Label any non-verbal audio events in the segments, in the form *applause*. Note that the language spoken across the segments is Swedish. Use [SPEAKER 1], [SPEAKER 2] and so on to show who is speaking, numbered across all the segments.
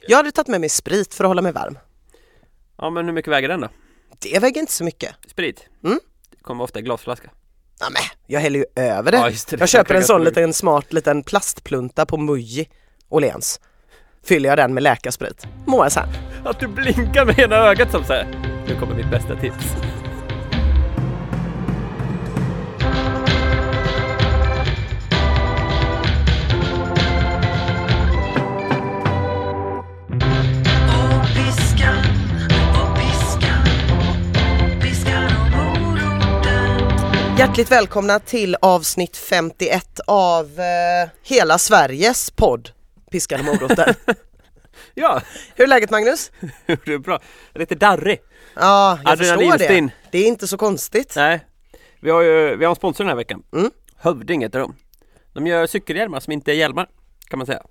[SPEAKER 1] Jag hade tagit med mig sprit för att hålla mig varm.
[SPEAKER 2] Ja men hur mycket väger den då?
[SPEAKER 1] Det väger inte så mycket.
[SPEAKER 2] Sprit?
[SPEAKER 1] Mm.
[SPEAKER 2] Det kommer ofta i glasflaska.
[SPEAKER 1] Nämen, jag häller ju över det.
[SPEAKER 2] Ja, just det.
[SPEAKER 1] Jag köper en
[SPEAKER 2] Klockan
[SPEAKER 1] sån
[SPEAKER 2] går.
[SPEAKER 1] liten smart liten plastplunta på Muji Åhléns. Fyller jag den med läkarsprit. Mår jag så här.
[SPEAKER 2] Att du blinkar med ena ögat som så här. Nu kommer mitt bästa tips. *laughs*
[SPEAKER 3] Och piskan, och piskan, piskan och moroten.
[SPEAKER 1] Hjärtligt välkomna till avsnitt 51 av eh, hela Sveriges podd Piskan och
[SPEAKER 2] *laughs*
[SPEAKER 1] moroten.
[SPEAKER 2] Ja, *laughs*
[SPEAKER 1] Hur är läget Magnus?
[SPEAKER 2] det är bra. Lite darrig.
[SPEAKER 1] Ja, jag förstår
[SPEAKER 2] Adrenalinstinn.
[SPEAKER 1] det. Det är inte så konstigt.
[SPEAKER 2] Nej. Vi har ju, vi har en sponsor den här veckan. Hövding heter de. De gör cykelhjälmar som inte är hjälmar, kan man säga.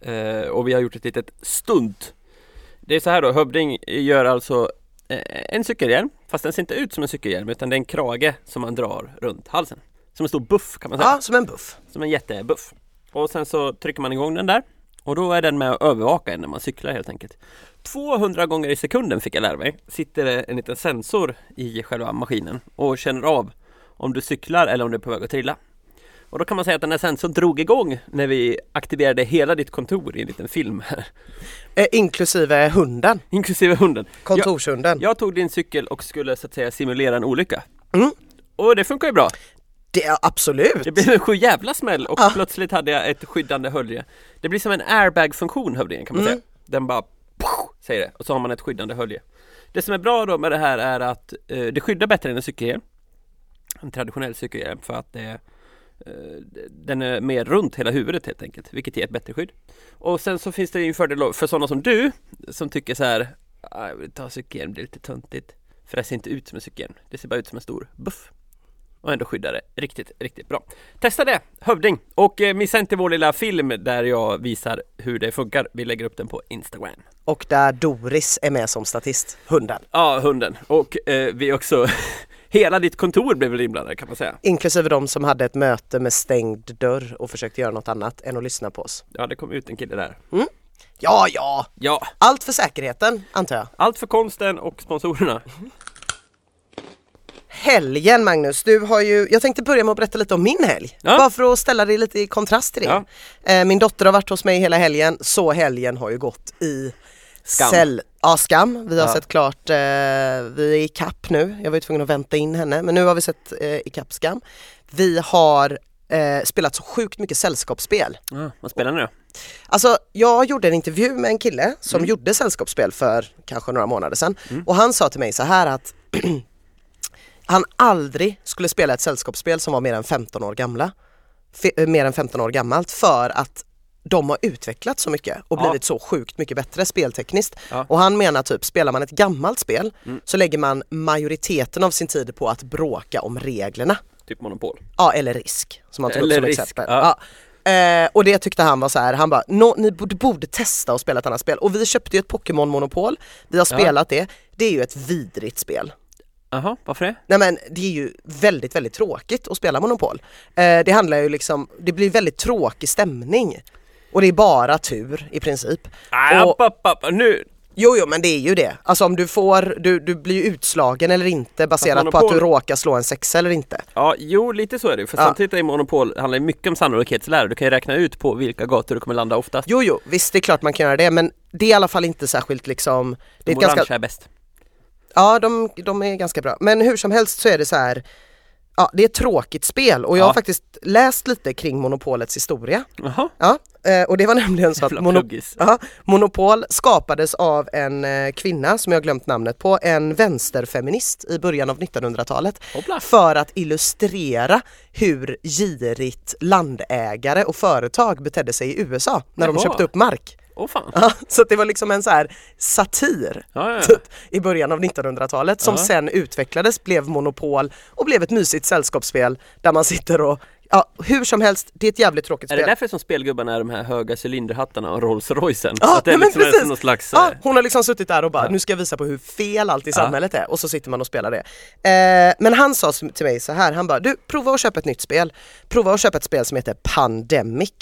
[SPEAKER 2] Eh, och vi har gjort ett litet stunt. Det är så här då, Hövding gör alltså eh, en cykelhjälm, fast den ser inte ut som en cykelhjälm utan det är en krage som man drar runt halsen. Som en stor buff kan man säga.
[SPEAKER 1] Ja, som en buff.
[SPEAKER 2] Som en jättebuff. Och sen så trycker man igång den där och då är den med att övervaka en när man cyklar helt enkelt. 200 gånger i sekunden fick jag lära mig sitter det en liten sensor i själva maskinen och känner av om du cyklar eller om du är på väg att trilla. Och då kan man säga att den här sensorn drog igång när vi aktiverade hela ditt kontor i en liten film här. *laughs*
[SPEAKER 1] Eh, inklusive hunden,
[SPEAKER 2] Inklusive hunden. Jag,
[SPEAKER 1] kontorshunden.
[SPEAKER 2] jag tog din cykel och skulle så att säga simulera en olycka.
[SPEAKER 1] Mm.
[SPEAKER 2] Och det funkar ju bra.
[SPEAKER 1] Det, ja, absolut.
[SPEAKER 2] Det blev en sju jävla smäll och
[SPEAKER 1] Ja.
[SPEAKER 2] plötsligt hade jag ett skyddande hölje Det blir som en airbag-funktion hövdingen kan man
[SPEAKER 1] Mm.
[SPEAKER 2] säga Den bara pow, säger det och så har man ett skyddande hölje Det som är bra då med det här är att eh, det skyddar bättre än en cykelhjälm En traditionell cykelhjälm för att det eh, den är mer runt hela huvudet helt enkelt, vilket ger ett bättre skydd. Och sen så finns det ju en fördel för sådana som du, som tycker så här, "Ah, jag vill ta cykelhjälm, det är lite töntigt. För det ser inte ut som en cykelhjälm, det ser bara ut som en stor buff. Och ändå skyddar det riktigt, riktigt bra. Testa det, Hövding! Och eh, missa inte vår lilla film där jag visar hur det funkar. Vi lägger upp den på Instagram.
[SPEAKER 1] Och där Doris är med som statist, hunden.
[SPEAKER 2] Ja, hunden. Och eh, vi också, *laughs* hela ditt kontor blev väl inblandade kan man säga.
[SPEAKER 1] Inklusive de som hade ett möte med stängd dörr och försökte göra något annat än att lyssna på oss.
[SPEAKER 2] Ja, det kom ut en kille där.
[SPEAKER 1] Ja, ja,
[SPEAKER 2] Ja,
[SPEAKER 1] allt för säkerheten antar jag.
[SPEAKER 2] allt för konsten och sponsorerna.
[SPEAKER 1] Helgen Magnus, du har ju, jag tänkte börja med att berätta lite om min helg.
[SPEAKER 2] Ja.
[SPEAKER 1] Bara för att ställa det lite i kontrast till det.
[SPEAKER 2] Ja.
[SPEAKER 1] Eh, Min dotter har varit hos mig hela helgen, så helgen har ju gått i
[SPEAKER 2] Skam.
[SPEAKER 1] Cell, ja, skam. Vi har
[SPEAKER 2] Ja.
[SPEAKER 1] sett klart, eh, vi är i kapp nu. Jag var ju tvungen att vänta in henne men nu har vi sett eh, i kapp skam. Vi har eh, spelat så sjukt mycket sällskapsspel.
[SPEAKER 2] Ja, vad spännande då.
[SPEAKER 1] Alltså jag gjorde en intervju med en kille som
[SPEAKER 2] Mm.
[SPEAKER 1] gjorde sällskapsspel för kanske några månader sedan och han sa till mig så här att *clears throat* han aldrig skulle spela ett sällskapsspel som var mer än 15 år gamla. Fe- eh, mer än 15 år gammalt för att de har utvecklats så mycket och
[SPEAKER 2] Ja.
[SPEAKER 1] blivit så sjukt mycket bättre speltekniskt.
[SPEAKER 2] Ja. Mm.
[SPEAKER 1] Och han menar typ, spelar man ett gammalt spel så lägger man majoriteten av sin tid på att bråka om reglerna.
[SPEAKER 2] Typ monopol.
[SPEAKER 1] Ja eller risk som han tog
[SPEAKER 2] Eller
[SPEAKER 1] upp som
[SPEAKER 2] risk,
[SPEAKER 1] exempel.
[SPEAKER 2] ja.
[SPEAKER 1] Ja. Eh, och det tyckte han var så här, han bara, "Nå, ni borde, borde testa att spela ett annat spel. Och vi köpte ju ett Pokémon Monopol, vi har
[SPEAKER 2] Ja.
[SPEAKER 1] spelat det, det är ju ett vidrigt spel.
[SPEAKER 2] Jaha, varför det?
[SPEAKER 1] Nej men det är ju väldigt, väldigt tråkigt att spela Monopol. Eh, det handlar ju liksom, det blir väldigt tråkig stämning. Och det är bara tur i princip.
[SPEAKER 2] Nej,
[SPEAKER 1] Och-
[SPEAKER 2] app, app, app. Nu!
[SPEAKER 1] Jo, jo men det är ju det. Alltså om du får, du, du blir ju utslagen eller inte baserat på att du
[SPEAKER 2] Monopol-
[SPEAKER 1] råkar slå en sexa eller inte.
[SPEAKER 2] Ja, jo lite så är det ju. För
[SPEAKER 1] Ja.
[SPEAKER 2] samtidigt är ju monopol, handlar ju mycket om sannolikhetslära. Du kan ju räkna ut på vilka gator du kommer landa oftast.
[SPEAKER 1] Jo, jo, visst det är klart man kan göra det men det är i alla fall inte särskilt liksom det är
[SPEAKER 2] De
[SPEAKER 1] ett
[SPEAKER 2] orangea
[SPEAKER 1] ganska,
[SPEAKER 2] är bäst.
[SPEAKER 1] Ja, de, de är ganska bra. Men hur som helst så är det så här Ja, det är ett tråkigt spel och jag
[SPEAKER 2] Ja.
[SPEAKER 1] har faktiskt läst lite kring monopolets historia.
[SPEAKER 2] Jaha,
[SPEAKER 1] Ja, eh, och det var *laughs* nämligen så att
[SPEAKER 2] Jävla pluggis.
[SPEAKER 1] ja, Monopol skapades av en eh, kvinna som jag har glömt namnet på, en vänsterfeminist i början av 1900-talet.
[SPEAKER 2] Hoppla.
[SPEAKER 1] För att illustrera hur girigt landägare och företag betedde sig i USA när de
[SPEAKER 2] Jaha.
[SPEAKER 1] köpte upp mark.
[SPEAKER 2] åh fan.
[SPEAKER 1] *laughs* Ja, så att det var liksom en så här satir
[SPEAKER 2] Ja, ja, ja.
[SPEAKER 1] typ, i början av 1900-talet som
[SPEAKER 2] Ja.
[SPEAKER 1] sen utvecklades, blev monopol och blev ett mysigt sällskapsspel där man sitter och, ja hur som helst, det är ett jävligt tråkigt
[SPEAKER 2] Är
[SPEAKER 1] spel.
[SPEAKER 2] det därför som spelgubbarna är de här höga cylinderhattarna och Rolls Roycen?
[SPEAKER 1] Ja,
[SPEAKER 2] att det
[SPEAKER 1] nej, men
[SPEAKER 2] liksom är
[SPEAKER 1] precis.
[SPEAKER 2] någon slags...
[SPEAKER 1] Ja,
[SPEAKER 2] eh,
[SPEAKER 1] hon har liksom suttit där och bara, nu ska jag visa på hur fel allt i samhället är och så sitter man och spelar det. Eh, men han sa som- till mig så
[SPEAKER 2] Mhm.
[SPEAKER 1] här, han bara, du prova att köpa ett nytt spel. Prova att köpa ett spel som heter Pandemic.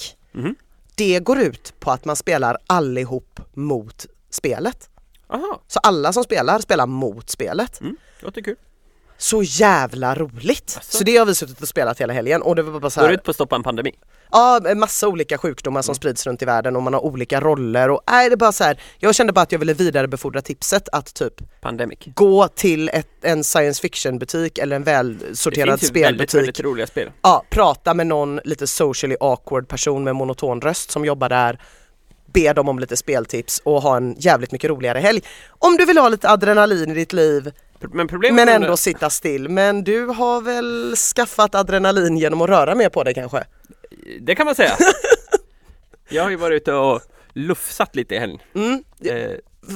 [SPEAKER 1] Det går ut på att man spelar allihop mot spelet.
[SPEAKER 2] Aha,
[SPEAKER 1] Så alla som spelar spelar mot spelet.
[SPEAKER 2] mm, låter kul.
[SPEAKER 1] Så jävla roligt!
[SPEAKER 2] Asså?
[SPEAKER 1] Så det har vi suttit och spelat hela helgen och det var bara så
[SPEAKER 2] Alltså. Går Mm.
[SPEAKER 1] här,
[SPEAKER 2] ut på att stoppa en pandemi?
[SPEAKER 1] ja massa olika sjukdomar som sprids runt i världen och man har olika roller och nej det är bara så här. jag kände bara att jag ville vidarebefordra tipset att typ
[SPEAKER 2] Pandemic. Det
[SPEAKER 1] gå till ett, en science fiction butik eller en välsorterad
[SPEAKER 2] finns ju väldigt,
[SPEAKER 1] spelbutik
[SPEAKER 2] väldigt roliga spel.
[SPEAKER 1] ja, prata med någon lite socially awkward person med monoton röst som jobbar där, be dem om lite speltips och ha en jävligt mycket roligare helg. Om du vill ha lite adrenalin i ditt liv
[SPEAKER 2] Pro- Men problemet
[SPEAKER 1] men
[SPEAKER 2] med
[SPEAKER 1] ändå sitta still. Men du har väl skaffat adrenalin genom att röra mer på dig kanske?
[SPEAKER 2] det, det kan
[SPEAKER 1] *laughs*
[SPEAKER 2] man säga. jag har ju varit ute och lufsat lite i helgen.
[SPEAKER 1] Mm.
[SPEAKER 2] Eh,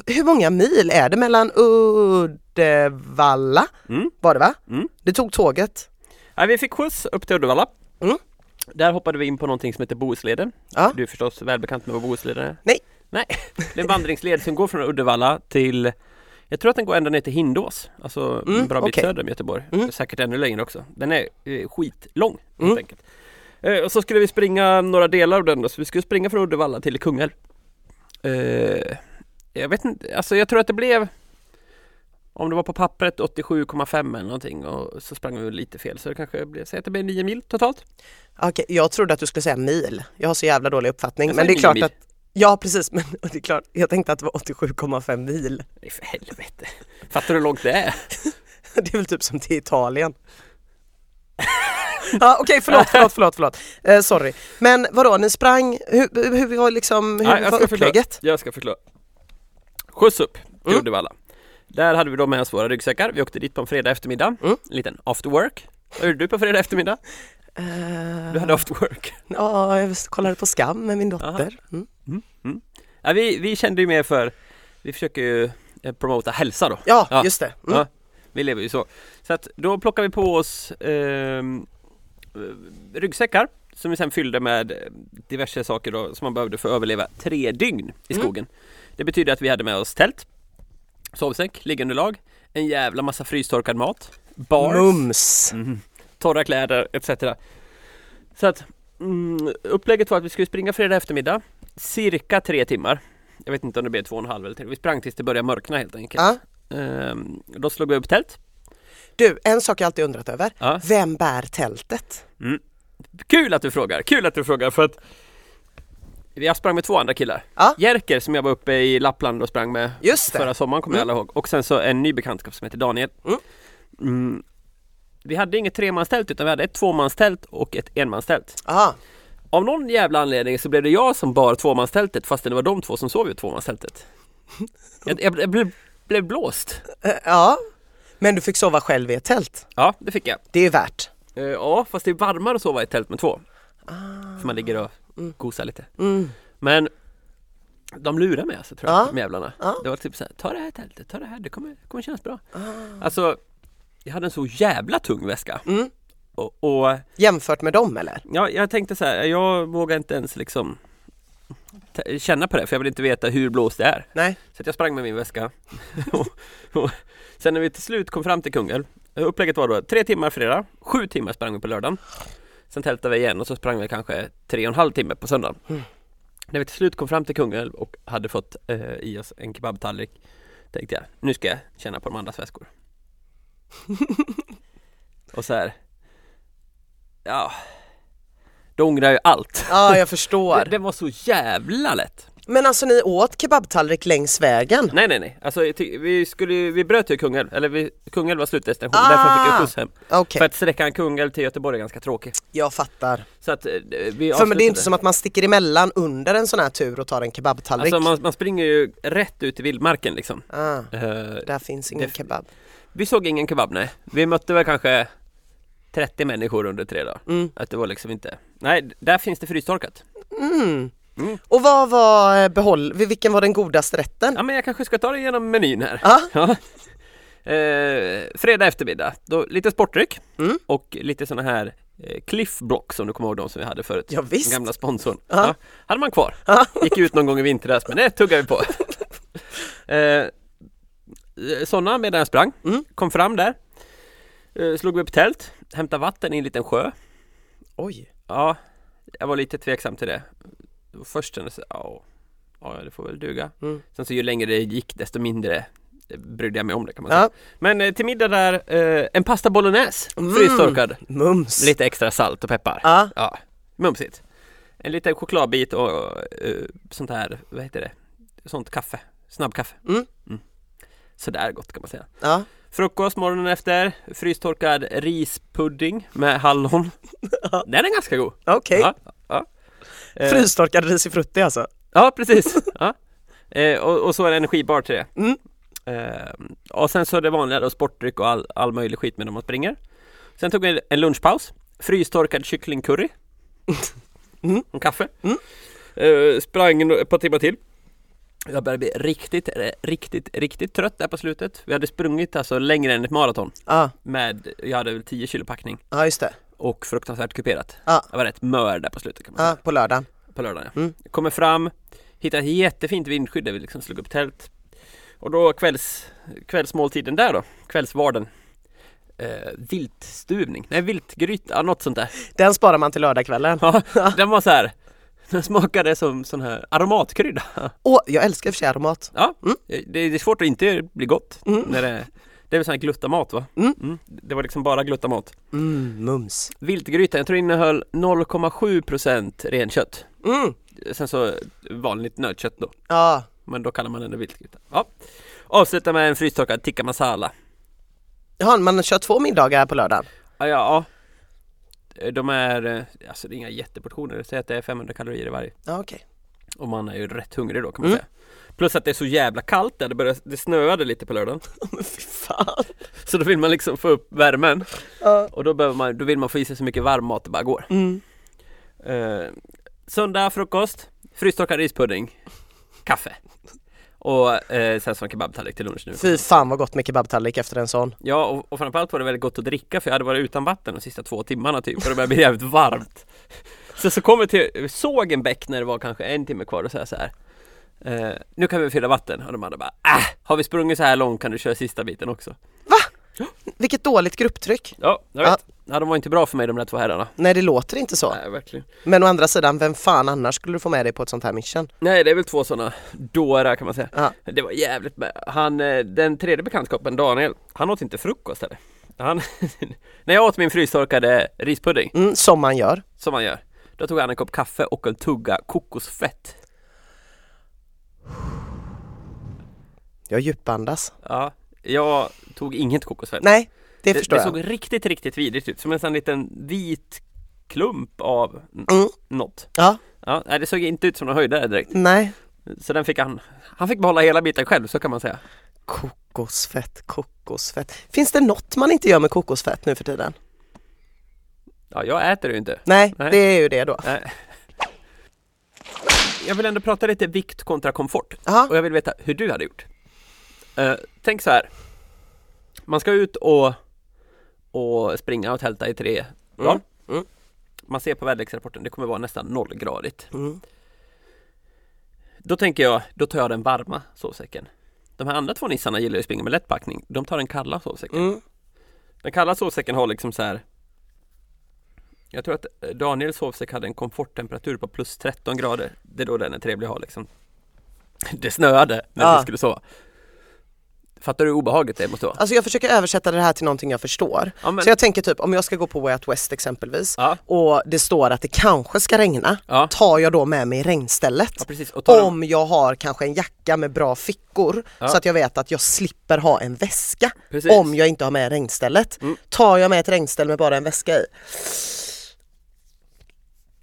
[SPEAKER 1] Hur många mil är det mellan Uddevalla
[SPEAKER 2] Mm.
[SPEAKER 1] var det va?
[SPEAKER 2] Mm.
[SPEAKER 1] Du tog tåget?
[SPEAKER 2] nej, vi fick skjuts upp till Uddevalla.
[SPEAKER 1] Mm.
[SPEAKER 2] Där hoppade vi in på någonting som heter Bohusleden.
[SPEAKER 1] Ja.
[SPEAKER 2] Du är förstås välbekant med vad Bohusleden är?
[SPEAKER 1] Nej.
[SPEAKER 2] Nej, det är en vandringsled som går från Uddevalla till Jag tror att den går ända ner till Hindås, alltså en
[SPEAKER 1] Mm,
[SPEAKER 2] bra bit
[SPEAKER 1] okej.
[SPEAKER 2] söder om Göteborg.
[SPEAKER 1] Mm.
[SPEAKER 2] Säkert ännu längre också. Den är eh, skitlång helt
[SPEAKER 1] Mm.
[SPEAKER 2] enkelt. Eh, och så skulle vi springa några delar av den då, så vi skulle springa från Uddevalla till Kungälv. Eh, jag vet inte, alltså jag tror att det blev om det var på pappret 87,5 eller någonting och så sprang vi lite fel så det kanske blev, säg att det blev 9 mil totalt.
[SPEAKER 1] Okej, jag trodde att du skulle säga mil. Jag har så jävla dålig uppfattning.
[SPEAKER 2] Jag
[SPEAKER 1] Men det
[SPEAKER 2] säger
[SPEAKER 1] är klart
[SPEAKER 2] mil.
[SPEAKER 1] att Ja precis, men *laughs* och det är klart, jag tänkte att det var 87,5 mil.
[SPEAKER 2] Nej för helvete. Fattar du hur långt det är?
[SPEAKER 1] *laughs* Det är väl typ som till Italien. ja, Okej, förlåt, förlåt, förlåt, förlåt. Eh, sorry. Men vadå, ni sprang, hur, hur var, liksom, hur
[SPEAKER 2] Ja, jag
[SPEAKER 1] var
[SPEAKER 2] ska förklara.
[SPEAKER 1] upplägget?
[SPEAKER 2] Jag ska förklara. Skjuts upp till
[SPEAKER 1] Mm.
[SPEAKER 2] Uddevalla. Där hade vi då med oss våra ryggsäckar. Vi åkte dit på en fredag eftermiddag.
[SPEAKER 1] Mm.
[SPEAKER 2] En liten after work. Vad gjorde du på fredag eftermiddag?
[SPEAKER 1] Eh,
[SPEAKER 2] Du hade after work.
[SPEAKER 1] Ja, jag kollade på Skam med min dotter. Mm.
[SPEAKER 2] Ja, vi, vi kände ju mer för, vi försöker ju eh, promota hälsa då.
[SPEAKER 1] Ja,
[SPEAKER 2] Ja.
[SPEAKER 1] just det. Mm.
[SPEAKER 2] Ja, vi lever ju så. Så att då plockade vi på oss ehm, eh, ryggsäckar som vi sen fyllde med eh, diverse saker då, som man behövde för att överleva tre dygn i
[SPEAKER 1] Mm.
[SPEAKER 2] skogen. Det betyder att vi hade med oss tält, sovsäck, liggunderlag, en jävla massa frystorkad mat, bars,
[SPEAKER 1] Mums!
[SPEAKER 2] Mhm. torra kläder etc. Så att mm, upplägget var att vi skulle springa fredag eftermiddag, cirka tre timmar. Jag vet inte om det blev två och en halv eller tre. Vi sprang tills det började mörkna helt enkelt.
[SPEAKER 1] Ja.
[SPEAKER 2] Ehm, då slog vi upp tält.
[SPEAKER 1] Du, en sak jag alltid undrat över.
[SPEAKER 2] Ja.
[SPEAKER 1] Vem bär tältet?
[SPEAKER 2] Kul att du frågar, kul att du frågar för att jag sprang med två andra killar.
[SPEAKER 1] Ja.
[SPEAKER 2] Jerker som jag var uppe i Lappland och sprang med
[SPEAKER 1] Just det.
[SPEAKER 2] förra sommaren kommer jag alla ihåg. Och sen så en ny bekantskap som heter Daniel.
[SPEAKER 1] Mm.
[SPEAKER 2] Mm. Vi hade inget tremanstält utan vi hade ett tvåmanstält och ett enmanstält.
[SPEAKER 1] Ja,
[SPEAKER 2] Av någon jävla anledning så blev det jag som bar tvåmanstältet fastän det var de två som sov
[SPEAKER 1] *laughs*
[SPEAKER 2] i tvåmanstältet. Jag, jag, jag blev, blev blåst.
[SPEAKER 1] Eh, ja. Men du fick sova själv i ett tält.
[SPEAKER 2] Ja, det fick jag.
[SPEAKER 1] Det är värt.
[SPEAKER 2] Eh, Ja, fast det är varmare att sova i ett tält med två.
[SPEAKER 1] Ah.
[SPEAKER 2] För man ligger och gosar lite.
[SPEAKER 1] Mm.
[SPEAKER 2] Men de lurar mig alltså tror jag,
[SPEAKER 1] Ja.
[SPEAKER 2] de jävlarna.
[SPEAKER 1] Ja.
[SPEAKER 2] Det var typ såhär, ta det här tältet, ta det här, det kommer, det kommer kännas bra.
[SPEAKER 1] Ah.
[SPEAKER 2] Alltså, jag hade en så jävla tung väska.
[SPEAKER 1] Mm.
[SPEAKER 2] Och, och
[SPEAKER 1] Jämfört med dem eller?
[SPEAKER 2] ja, jag tänkte så här, jag vågar inte ens liksom t- känna på det för jag vill inte veta hur blåst det är.
[SPEAKER 1] Nej.
[SPEAKER 2] Så att jag sprang med min väska. *laughs* och, och, sen när vi till slut kom fram till Kungälv, eh, upplägget var då tre timmar fredag, sju timmar sprang vi på lördagen. Sen tältade vi igen och så sprang vi kanske tre och en halv timme på söndagen. När vi till slut kom fram till Kungälv och hade fått eh, i oss en kebabtallrik tänkte jag, nu ska jag känna på de andras väskor. och så här, ja, då ångrar jag ju allt.
[SPEAKER 1] Ja, jag
[SPEAKER 2] Det,
[SPEAKER 1] förstår.
[SPEAKER 2] det var så jävla lätt.
[SPEAKER 1] Men alltså ni åt kebabtallrik längs vägen?
[SPEAKER 2] Nej nej nej, alltså, jag ty- vi, skulle, ju- vi bröt ju Kungälv, eller vi, Kungälv var slutdestination,
[SPEAKER 1] Ah!
[SPEAKER 2] därför fick jag skjuts hem.
[SPEAKER 1] Okej,
[SPEAKER 2] För att sträckan Kungälv till Göteborg är ganska tråkig.
[SPEAKER 1] jag fattar.
[SPEAKER 2] Så att eh, vi
[SPEAKER 1] För men det är inte
[SPEAKER 2] avslutade.
[SPEAKER 1] som att man sticker emellan under en sån här tur och tar en kebabtallrik.
[SPEAKER 2] Alltså man, man springer ju rätt ut i vildmarken liksom.
[SPEAKER 1] ah,
[SPEAKER 2] Eh,
[SPEAKER 1] där finns ingen
[SPEAKER 2] Det-
[SPEAKER 1] kebab.
[SPEAKER 2] vi såg ingen kebab nej, vi mötte väl kanske 30 människor under tre dagar.
[SPEAKER 1] Mm.
[SPEAKER 2] Att det var liksom inte, nej d- där finns det frystorkat.
[SPEAKER 1] Mm.
[SPEAKER 2] Mm.
[SPEAKER 1] Och vad var eh, behåll, vilken var den godaste rätten?
[SPEAKER 2] Ja men jag kanske ska ta det genom menyn här.
[SPEAKER 1] Ja.
[SPEAKER 2] *laughs* Ja. Eh, fredag eftermiddag, då lite sportdryck
[SPEAKER 1] Mm.
[SPEAKER 2] och lite såna här eh, Cliff Blocks om du kommer ihåg de som vi hade förut.
[SPEAKER 1] Ja, visst.
[SPEAKER 2] Den gamla sponsorn.
[SPEAKER 1] Ja.
[SPEAKER 2] Ja, hade man kvar.
[SPEAKER 1] Ja.
[SPEAKER 2] Gick ut någon gång i vintras men det
[SPEAKER 1] *laughs*
[SPEAKER 2] tuggar vi på. eh, sådana medan jag sprang,
[SPEAKER 1] Mm.
[SPEAKER 2] kom fram där. Eh, slog upp tält, hämtade vatten i en liten sjö.
[SPEAKER 1] Oj.
[SPEAKER 2] Ja, jag var lite tveksam till det. Det var först kändes det, ja, ja det får väl duga.
[SPEAKER 1] Mm.
[SPEAKER 2] Sen så ju längre det gick desto mindre eh, brydde jag mig om det kan man säga.
[SPEAKER 1] Ja,
[SPEAKER 2] Men eh, till middag där, eh, en pasta bolognese,
[SPEAKER 1] Mm.
[SPEAKER 2] frystorkad.
[SPEAKER 1] mums.
[SPEAKER 2] Lite extra salt och peppar.
[SPEAKER 1] Ja,
[SPEAKER 2] Ja, mumsigt. En liten chokladbit och, eh, sånt här, vad heter det? Sånt kaffe, snabbkaffe.
[SPEAKER 1] Mm.
[SPEAKER 2] Sådär gott kan man säga.
[SPEAKER 1] ja.
[SPEAKER 2] Frukost morgonen efter, frystorkad rispudding
[SPEAKER 1] *laughs*
[SPEAKER 2] med hallon. Den är ganska god.
[SPEAKER 1] okej.
[SPEAKER 2] Ja, ja. Eh,
[SPEAKER 1] Frystorkad risifrutti alltså.
[SPEAKER 2] Ja, precis. ja. Eh, och, och så är det energibar till det.
[SPEAKER 1] Mm.
[SPEAKER 2] Eh, och sen så är det vanliga då, sportdryck och all, all möjlig skit med när man springer. Sen tog vi en lunchpaus. Frystorkad kycklingcurry.
[SPEAKER 1] *laughs* Mm.
[SPEAKER 2] Och kaffe. Eh, sprang en- ett par timmar till. Jag började bli riktigt, eh, riktigt, riktigt trött där på slutet. Vi hade sprungit alltså längre än ett maraton.
[SPEAKER 1] Ja,
[SPEAKER 2] Med, jag hade väl 10 kilo packning
[SPEAKER 1] ja just det.
[SPEAKER 2] och fruktansvärt kuperat.
[SPEAKER 1] Ja.
[SPEAKER 2] Jag var rätt mör där på slutet kan man säga
[SPEAKER 1] Ja, på lördagen.
[SPEAKER 2] på lördagen.
[SPEAKER 1] Mm.
[SPEAKER 2] Kommer fram, hittar ett jättefint vindskydd där vi liksom slog upp tält. Och då kvälls, kvällsmåltiden där då, kvällsvarden. Eh, viltstuvning, nej viltgryta, ja, något sånt där.
[SPEAKER 1] Den sparar man till lördagskvällen.
[SPEAKER 2] Ja, den var så här. Den smakade som sån här aromatkrydda.
[SPEAKER 1] Åh, jag älskar i och för sig aromat.
[SPEAKER 2] Ja,
[SPEAKER 1] Mm.
[SPEAKER 2] det, det är svårt att inte bli gott.
[SPEAKER 1] Mm.
[SPEAKER 2] När det, det är väl sån här glutamat va?
[SPEAKER 1] Mm.
[SPEAKER 2] Det var liksom bara glutamat.
[SPEAKER 1] Mm, mums.
[SPEAKER 2] Viltgrytan, jag tror innehöll 0,7% renkött.
[SPEAKER 1] Mm,
[SPEAKER 2] Sen så vanligt nötkött då.
[SPEAKER 1] ja.
[SPEAKER 2] Men då kallar man den en viltgryta. Ja. Avsluta med en frystorkad tikka masala.
[SPEAKER 1] Jaha, man kör två middagar på lördagen.
[SPEAKER 2] Ah, Ja, ja. ja. De är, eh, alltså det är inga jätteportioner, säg att det är 500 kalorier i varje.
[SPEAKER 1] Ja, okej. *laughs*
[SPEAKER 2] Och man är ju rätt hungrig då kan man
[SPEAKER 1] Mm.
[SPEAKER 2] säga. Plus att det är så jävla kallt där, det, började, det snöade lite på lördagen. *laughs*
[SPEAKER 1] Men fy fan.
[SPEAKER 2] Så då vill man liksom få upp värmen.
[SPEAKER 1] Ja.
[SPEAKER 2] Och då, behöver man, då vill man få i sig så mycket varm mat det bara går.
[SPEAKER 1] Mm.
[SPEAKER 2] Eh, söndag frukost, frystorkad rispudding, kaffe. Och eh, sen så en kebabtallrik till lunch nu.
[SPEAKER 1] Fy fan vad gott med kebabtallrik efter en sån.
[SPEAKER 2] Ja och, och framförallt var det väldigt gott att dricka för jag hade varit utan vatten de sista två timmarna typ och det började bli jävligt varmt Så så kom vi till, såg en bäck när det var kanske en timme kvar och sa jag så här eh, Nu kan vi fylla vatten och de andra bara äh, har vi sprungit så här långt kan du köra sista biten också
[SPEAKER 1] Vilket dåligt grupptryck.
[SPEAKER 2] Ja, jag vet Ah. Ja de var inte bra för mig de där två herrarna
[SPEAKER 1] Nej det låter inte så.
[SPEAKER 2] Nej verkligen
[SPEAKER 1] Men å andra sidan, vem fan annars skulle du få med dig på ett sånt här mission?
[SPEAKER 2] Nej det är väl två sådana dårar kan man säga
[SPEAKER 1] Ja.
[SPEAKER 2] Det var jävligt med. Han, eh, den tredje bekantskapen Daniel Han åt inte frukost heller han, *laughs* När jag åt min frystorkade rispudding
[SPEAKER 1] Mm, som man gör.
[SPEAKER 2] som man gör. Då tog han en kopp kaffe och en tugga kokosfett.
[SPEAKER 1] Jag djupandas.
[SPEAKER 2] Ja, jag tog inget kokosfett.
[SPEAKER 1] Nej, det,
[SPEAKER 2] det,
[SPEAKER 1] förstår
[SPEAKER 2] det
[SPEAKER 1] jag.
[SPEAKER 2] såg riktigt, riktigt vidrigt ut. Som en sån liten vit klump av n-
[SPEAKER 1] Mm.
[SPEAKER 2] något.
[SPEAKER 1] Ja,
[SPEAKER 2] Ja, nej, det såg inte ut som någon höjdare direkt.
[SPEAKER 1] nej.
[SPEAKER 2] Så den fick han, han fick behålla hela biten själv, så kan man säga.
[SPEAKER 1] Kokosfett, kokosfett. Finns det något man inte gör med kokosfett nu för tiden?
[SPEAKER 2] Ja, jag äter det ju inte.
[SPEAKER 1] Nej,
[SPEAKER 2] Nej.
[SPEAKER 1] det är ju det då.
[SPEAKER 2] Nej. Jag vill ändå prata lite vikt kontra komfort.
[SPEAKER 1] Jaha,
[SPEAKER 2] Och jag vill veta hur du hade gjort. Eh, tänk så här. Man ska ut och, och springa och tälta i tre dagar.
[SPEAKER 1] mm.
[SPEAKER 2] Man ser på väderleksrapporten, det kommer vara nästan nollgradigt.
[SPEAKER 1] mm.
[SPEAKER 2] Då tänker jag, då tar jag den varma sovsäcken. De här andra två nissarna gillar ju att springa med lätt packning. De tar den kalla sovsäcken.
[SPEAKER 1] Mm.
[SPEAKER 2] Den kalla sovsäcken har liksom så här. Jag tror att eh, Daniels sovsäck hade en komforttemperatur på plus 13 grader. Det är då den är trevlig att ha liksom. *laughs* Det snöade när
[SPEAKER 1] Ja.
[SPEAKER 2] vi skulle sova. Fattar du hur obehagligt det måste vara?
[SPEAKER 1] Alltså jag försöker översätta det här till någonting jag förstår.
[SPEAKER 2] Ja, men,
[SPEAKER 1] Så jag tänker typ om jag ska gå på Way Out West exempelvis
[SPEAKER 2] ja,
[SPEAKER 1] och det står att det kanske ska regna,
[SPEAKER 2] ja,
[SPEAKER 1] tar jag då med mig regnstället?
[SPEAKER 2] ja, precis. Och tar de,
[SPEAKER 1] Om jag har kanske en jacka med bra fickor
[SPEAKER 2] Ja.
[SPEAKER 1] så att jag vet att jag slipper ha en väska
[SPEAKER 2] precis.
[SPEAKER 1] om jag inte har med regnstället.
[SPEAKER 2] Mm.
[SPEAKER 1] Tar jag med ett regnställ med bara en väska i?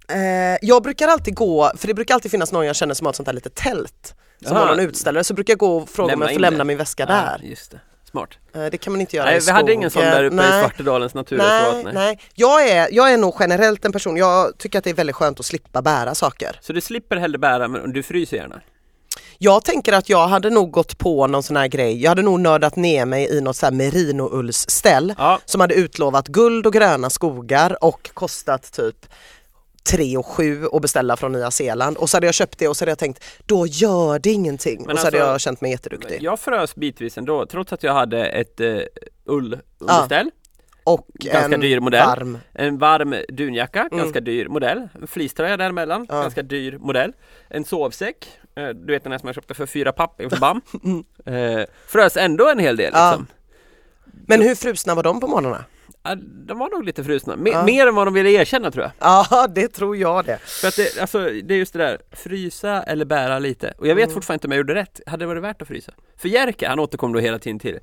[SPEAKER 1] Eh, jag brukar alltid gå, för det brukar alltid finnas någon jag känner som har ett sånt här litet tält som
[SPEAKER 2] Aha.
[SPEAKER 1] har någon utställare, så brukar jag gå och fråga om
[SPEAKER 2] Lämna
[SPEAKER 1] jag
[SPEAKER 2] in
[SPEAKER 1] får lämna
[SPEAKER 2] det.
[SPEAKER 1] min väska
[SPEAKER 2] Ja,
[SPEAKER 1] där.
[SPEAKER 2] just det. Smart.
[SPEAKER 1] Eh, det kan man inte göra i
[SPEAKER 2] Nej, vi hade ingen sån där uppe i
[SPEAKER 1] Nej.
[SPEAKER 2] Svartedalens naturreservat.
[SPEAKER 1] Nej,
[SPEAKER 2] Nej.
[SPEAKER 1] nej. Jag, är, jag är nog generellt en person, jag tycker att det är väldigt skönt att slippa bära saker.
[SPEAKER 2] Så du slipper hellre bära, men du fryser gärna.
[SPEAKER 1] Jag tänker att jag hade nog gått på någon sån här grej, jag hade nog nördat ner mig i något så här merinoullsställ
[SPEAKER 2] Ja,
[SPEAKER 1] som hade utlovat guld och gröna skogar och kostat typ 3 och 7 att beställa från Nya Zeeland och så hade jag köpt det och så hade jag tänkt då gör det ingenting och så hade
[SPEAKER 2] alltså,
[SPEAKER 1] jag känt mig jätteduktig.
[SPEAKER 2] eh, jag frös bitvis ändå, trots att jag hade ett uh, ull underställ.
[SPEAKER 1] och
[SPEAKER 2] Ganska
[SPEAKER 1] en
[SPEAKER 2] dyr modell.
[SPEAKER 1] varm. Mm.
[SPEAKER 2] En varm dunjacka, ganska dyr modell. En fleecetröja däremellan, ganska dyr modell. En sovsäck, eh, du vet den här som jag köpte för fyra papp inför
[SPEAKER 1] *laughs*
[SPEAKER 2] BAM. Eh, Frös ändå en hel del
[SPEAKER 1] Ja.
[SPEAKER 2] liksom.
[SPEAKER 1] Men hur frusna var de på morgnarna? *laughs*
[SPEAKER 2] Ja, De var nog lite frusna, Me- mer än vad de ville erkänna tror jag.
[SPEAKER 1] Ja, det tror jag det.
[SPEAKER 2] För att det, alltså, det är just det där, frysa eller bära lite. Och jag
[SPEAKER 1] Mm.
[SPEAKER 2] vet fortfarande inte om jag gjorde rätt. Hade det varit värt att frysa? För Jerker, han återkom då hela tiden till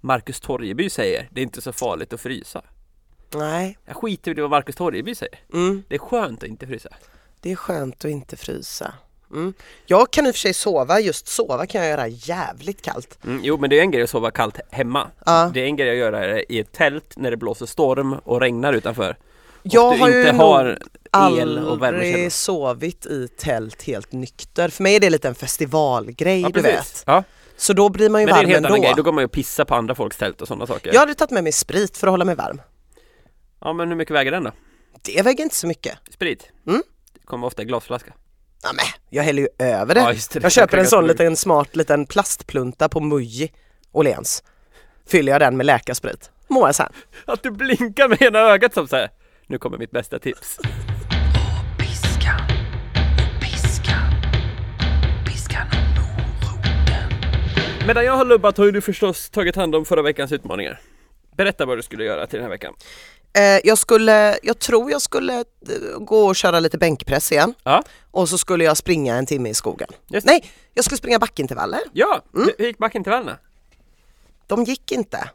[SPEAKER 2] Marcus Torjeby säger, det är inte så farligt att frysa.
[SPEAKER 1] Nej,
[SPEAKER 2] Jag skiter i vad Marcus Torjeby säger.
[SPEAKER 1] mm.
[SPEAKER 2] Det är skönt att inte frysa.
[SPEAKER 1] det är skönt att inte frysa. Mm. Jag kan i och för sig sova, just sova kan jag göra jävligt kallt.
[SPEAKER 2] Mm, jo men det är en grej att sova kallt hemma.
[SPEAKER 1] Ja.
[SPEAKER 2] Det är en grej att göra i ett tält när det blåser storm och regnar utanför. Och
[SPEAKER 1] Jag
[SPEAKER 2] du
[SPEAKER 1] har ju
[SPEAKER 2] inte
[SPEAKER 1] nog
[SPEAKER 2] har el och värmekälla.
[SPEAKER 1] Aldrig sovit i tält helt nykter. För mig är det lite en festivalgrej
[SPEAKER 2] Ja,
[SPEAKER 1] du
[SPEAKER 2] precis.
[SPEAKER 1] vet.
[SPEAKER 2] Ja.
[SPEAKER 1] Så då blir man ju
[SPEAKER 2] Men det är en
[SPEAKER 1] varm
[SPEAKER 2] helt
[SPEAKER 1] ändå.
[SPEAKER 2] annan grej, då går man ju och pissar på andra folks tält och sådana saker.
[SPEAKER 1] Jag hade tagit med mig sprit för att hålla mig varm.
[SPEAKER 2] ja men hur mycket väger den då?
[SPEAKER 1] Det väger inte så mycket.
[SPEAKER 2] Sprit?
[SPEAKER 1] Mm.
[SPEAKER 2] Det kommer ofta i glasflaska.
[SPEAKER 1] Ja, men, jag häller ju över det.
[SPEAKER 2] Ja, just det.
[SPEAKER 1] Jag köper en sån
[SPEAKER 2] Ganska
[SPEAKER 1] liten smart liten plastplunta på Muji Åhléns. Fyller jag den med läkarsprit. Mår jag sen.
[SPEAKER 2] Att du blinkar med ena ögat som såhär Nu kommer mitt bästa tips
[SPEAKER 3] Piskan, piskan, piskan och moroten.
[SPEAKER 2] Medan jag har lubbat har ju du förstås tagit hand om förra veckans utmaningar Berätta vad du skulle göra till den här veckan
[SPEAKER 1] Eh, jag, skulle, jag tror jag skulle eh, gå och köra lite bänkpress igen
[SPEAKER 2] Ja,
[SPEAKER 1] och så skulle jag springa en timme i skogen.
[SPEAKER 2] Just det.
[SPEAKER 1] Nej, jag skulle springa backintervaller.
[SPEAKER 2] ja hur- hur gick backintervallerna?
[SPEAKER 1] De gick inte.
[SPEAKER 2] Nej,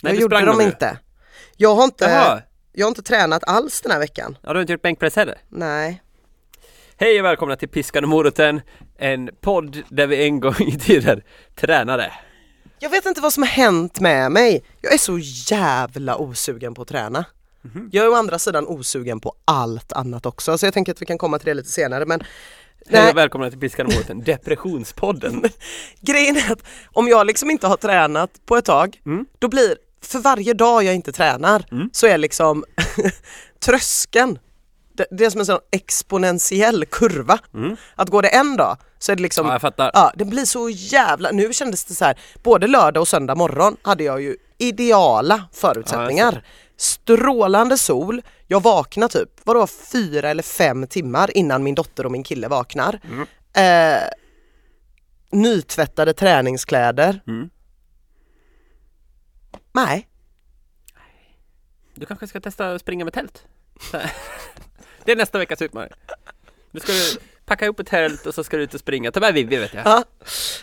[SPEAKER 1] jag
[SPEAKER 2] du
[SPEAKER 1] gjorde
[SPEAKER 2] sprang
[SPEAKER 1] dem
[SPEAKER 2] dem ju.
[SPEAKER 1] inte. Jag har inte,
[SPEAKER 2] Jaha.
[SPEAKER 1] jag har inte tränat alls den här veckan.
[SPEAKER 2] Ja, du har inte gjort bänkpress heller?
[SPEAKER 1] Nej.
[SPEAKER 2] Hej och välkomna till Piskan och moroten En podd där vi en gång i tiden tränade
[SPEAKER 1] Jag vet inte vad som har hänt med mig. Jag är så jävla osugen på att träna.
[SPEAKER 2] Mhm.
[SPEAKER 1] Jag är å andra sidan osugen på allt annat också, så jag tänker att vi kan komma till det lite senare. Men
[SPEAKER 2] Hej
[SPEAKER 1] Nej.
[SPEAKER 2] och välkomna till Piskan och *laughs* moroten Depressionspodden
[SPEAKER 1] grejen är att om jag liksom inte har tränat på ett tag, då blir, för varje dag jag inte tränar, så är liksom *laughs* tröskeln, det, det är som en sån exponentiell kurva. Att går det en dag så är det liksom,
[SPEAKER 2] Ja, jag fattar.
[SPEAKER 1] ja, det blir så jävla, nu kändes det så här, både lördag och söndag morgon hade jag ju ideala förutsättningar. Strålande sol, jag vaknar typ, vadå fyra eller fem timmar innan min dotter och min kille vaknar.
[SPEAKER 2] Mm.
[SPEAKER 1] Eh, nytvättade träningskläder.
[SPEAKER 2] Mm.
[SPEAKER 1] Nej,
[SPEAKER 2] Du kanske ska testa att springa med tält? Så här. Det är nästa veckas utmaning Nu ska du packa ihop ett tält och så ska du ut och springa Ta med Vivi vet jag
[SPEAKER 1] Ja.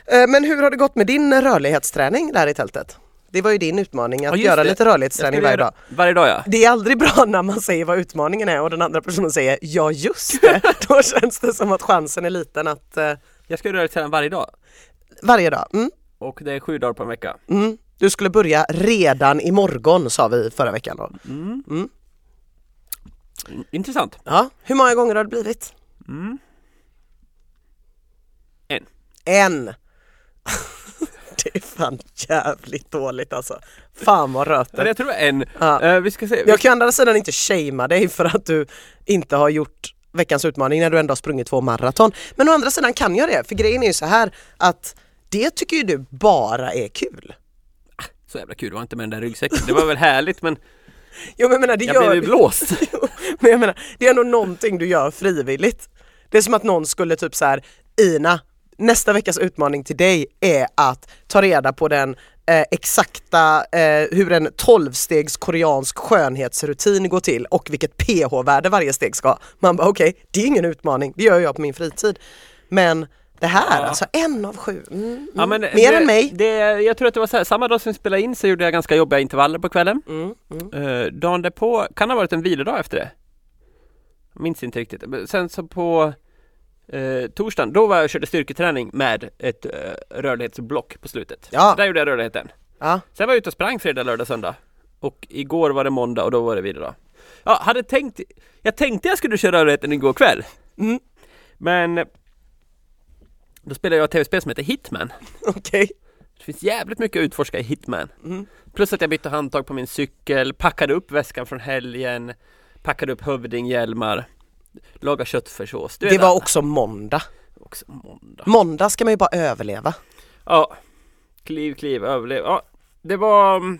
[SPEAKER 1] Eh, men hur har det gått med din rörlighetsträning där i tältet? Det var ju din utmaning att
[SPEAKER 2] Ja, just
[SPEAKER 1] göra
[SPEAKER 2] det.
[SPEAKER 1] lite rörlighetsträning
[SPEAKER 2] Jag skulle
[SPEAKER 1] varje
[SPEAKER 2] göra-
[SPEAKER 1] dag.
[SPEAKER 2] Varje dag ja.
[SPEAKER 1] Det är aldrig bra *laughs* när man säger vad utmaningen är och den andra personen säger ja just det. *laughs* Då känns det som att chansen är liten att eh,
[SPEAKER 2] Jag ska röra sedan varje dag.
[SPEAKER 1] varje dag. Mm,
[SPEAKER 2] Och det är sju dagar på en vecka.
[SPEAKER 1] mm. Du skulle börja redan imorgon sa vi förra veckan då.
[SPEAKER 2] Intressant.
[SPEAKER 1] Ja. Hur många gånger har det blivit?
[SPEAKER 2] En.
[SPEAKER 1] En! *laughs* det är fan jävligt dåligt alltså. Fan vad rötet.
[SPEAKER 2] Eller jag tror det är en.
[SPEAKER 1] Ja.
[SPEAKER 2] Eh, vi ska se.
[SPEAKER 1] Jag kan å andra sidan inte shamea dig för att du inte har gjort veckans utmaning när du ändå har sprungit två maraton. Men å andra sidan kan jag det, för grejen är ju så här att det tycker ju du bara är kul.
[SPEAKER 2] Så jävla kul, det var inte med den där ryggsäcken. Det var väl härligt men
[SPEAKER 1] Jo men jag menar det
[SPEAKER 2] jag
[SPEAKER 1] gör
[SPEAKER 2] blev ju blåst.
[SPEAKER 1] Jo, *laughs* men jag menar, det är ändå någonting du gör frivilligt. Det är som att någon skulle typ så här, Ina, nästa veckas utmaning till dig är att ta reda på den eh, exakta, eh, hur en 12-stegs koreansk skönhetsrutin går till och vilket pH-värde varje steg ska ha. Man bara okej, det är ingen utmaning, det gör jag på min fritid. Men det här, alltså en av sju. Mm, mm.
[SPEAKER 2] Ja, men
[SPEAKER 1] Mer
[SPEAKER 2] det,
[SPEAKER 1] än mig.
[SPEAKER 2] Det, jag tror att det var så här, samma dag som vi spelade in så gjorde jag ganska jobbiga intervaller på kvällen. Eh, dagen därpå, kan ha varit en vilodag efter det. Minns inte riktigt. Men Sen så på eh, torsdagen, då var jag och körde styrketräning med ett eh, rörlighetsblock på slutet.
[SPEAKER 1] Ja.
[SPEAKER 2] Så där gjorde jag rörligheten.
[SPEAKER 1] Ja.
[SPEAKER 2] Sen var jag ute och sprang fredag, lördag, söndag Och igår var det måndag och då var det vilodag Ja, hade tänkt Jag tänkte jag skulle köra rörligheten igår kväll
[SPEAKER 1] Mm.
[SPEAKER 2] Men Då spelade jag ett tv-spel som heter Hitman
[SPEAKER 1] Okej.
[SPEAKER 2] Det finns jävligt mycket att utforska i Hitman
[SPEAKER 1] Mm.
[SPEAKER 2] Plus att jag bytte handtag på min cykel, packade upp väskan från helgen Packade upp hövdinghjälmar Laga köttfärssås Du
[SPEAKER 1] Det
[SPEAKER 2] vet,
[SPEAKER 1] var också måndag.
[SPEAKER 2] också måndag
[SPEAKER 1] Måndag ska man ju bara överleva.
[SPEAKER 2] Ja Kliv, kliv, överlev Ja, det var mm,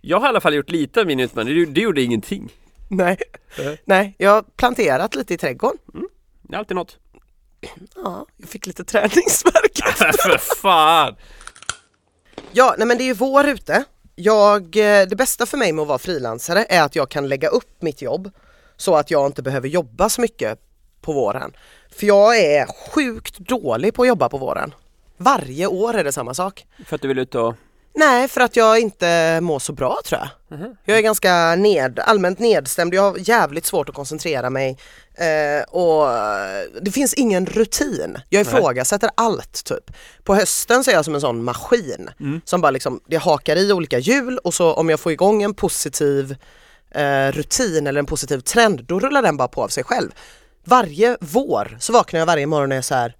[SPEAKER 2] Jag har i alla fall gjort lite av min utmaning, du, du gjorde ingenting
[SPEAKER 1] Nej. Nej, jag har planterat lite i trädgården.
[SPEAKER 2] Det är alltid något *laughs*
[SPEAKER 1] Ja, jag fick lite träningsvärk.
[SPEAKER 2] För fan!
[SPEAKER 1] Ja, nej men det är ju vår ute. Jag, eh, det bästa för mig med att vara frilansare är att jag kan lägga upp mitt jobb så att jag inte behöver jobba så mycket på våren. För jag är sjukt dålig på att jobba på våren. Varje år är det samma sak.
[SPEAKER 2] För att du vill ut och...
[SPEAKER 1] Nej, för att jag inte mår så bra tror jag. Jag är ganska ned, allmänt nedstämd, jag har jävligt svårt att koncentrera mig eh, och det finns ingen rutin. Jag ifrågasätter allt typ. På hösten så är jag som en sån maskin som bara liksom, det hakar i olika hjul och så om jag får igång en positiv eh, rutin eller en positiv trend, då rullar den bara på av sig själv. Varje vår så vaknar jag varje morgon och är så här,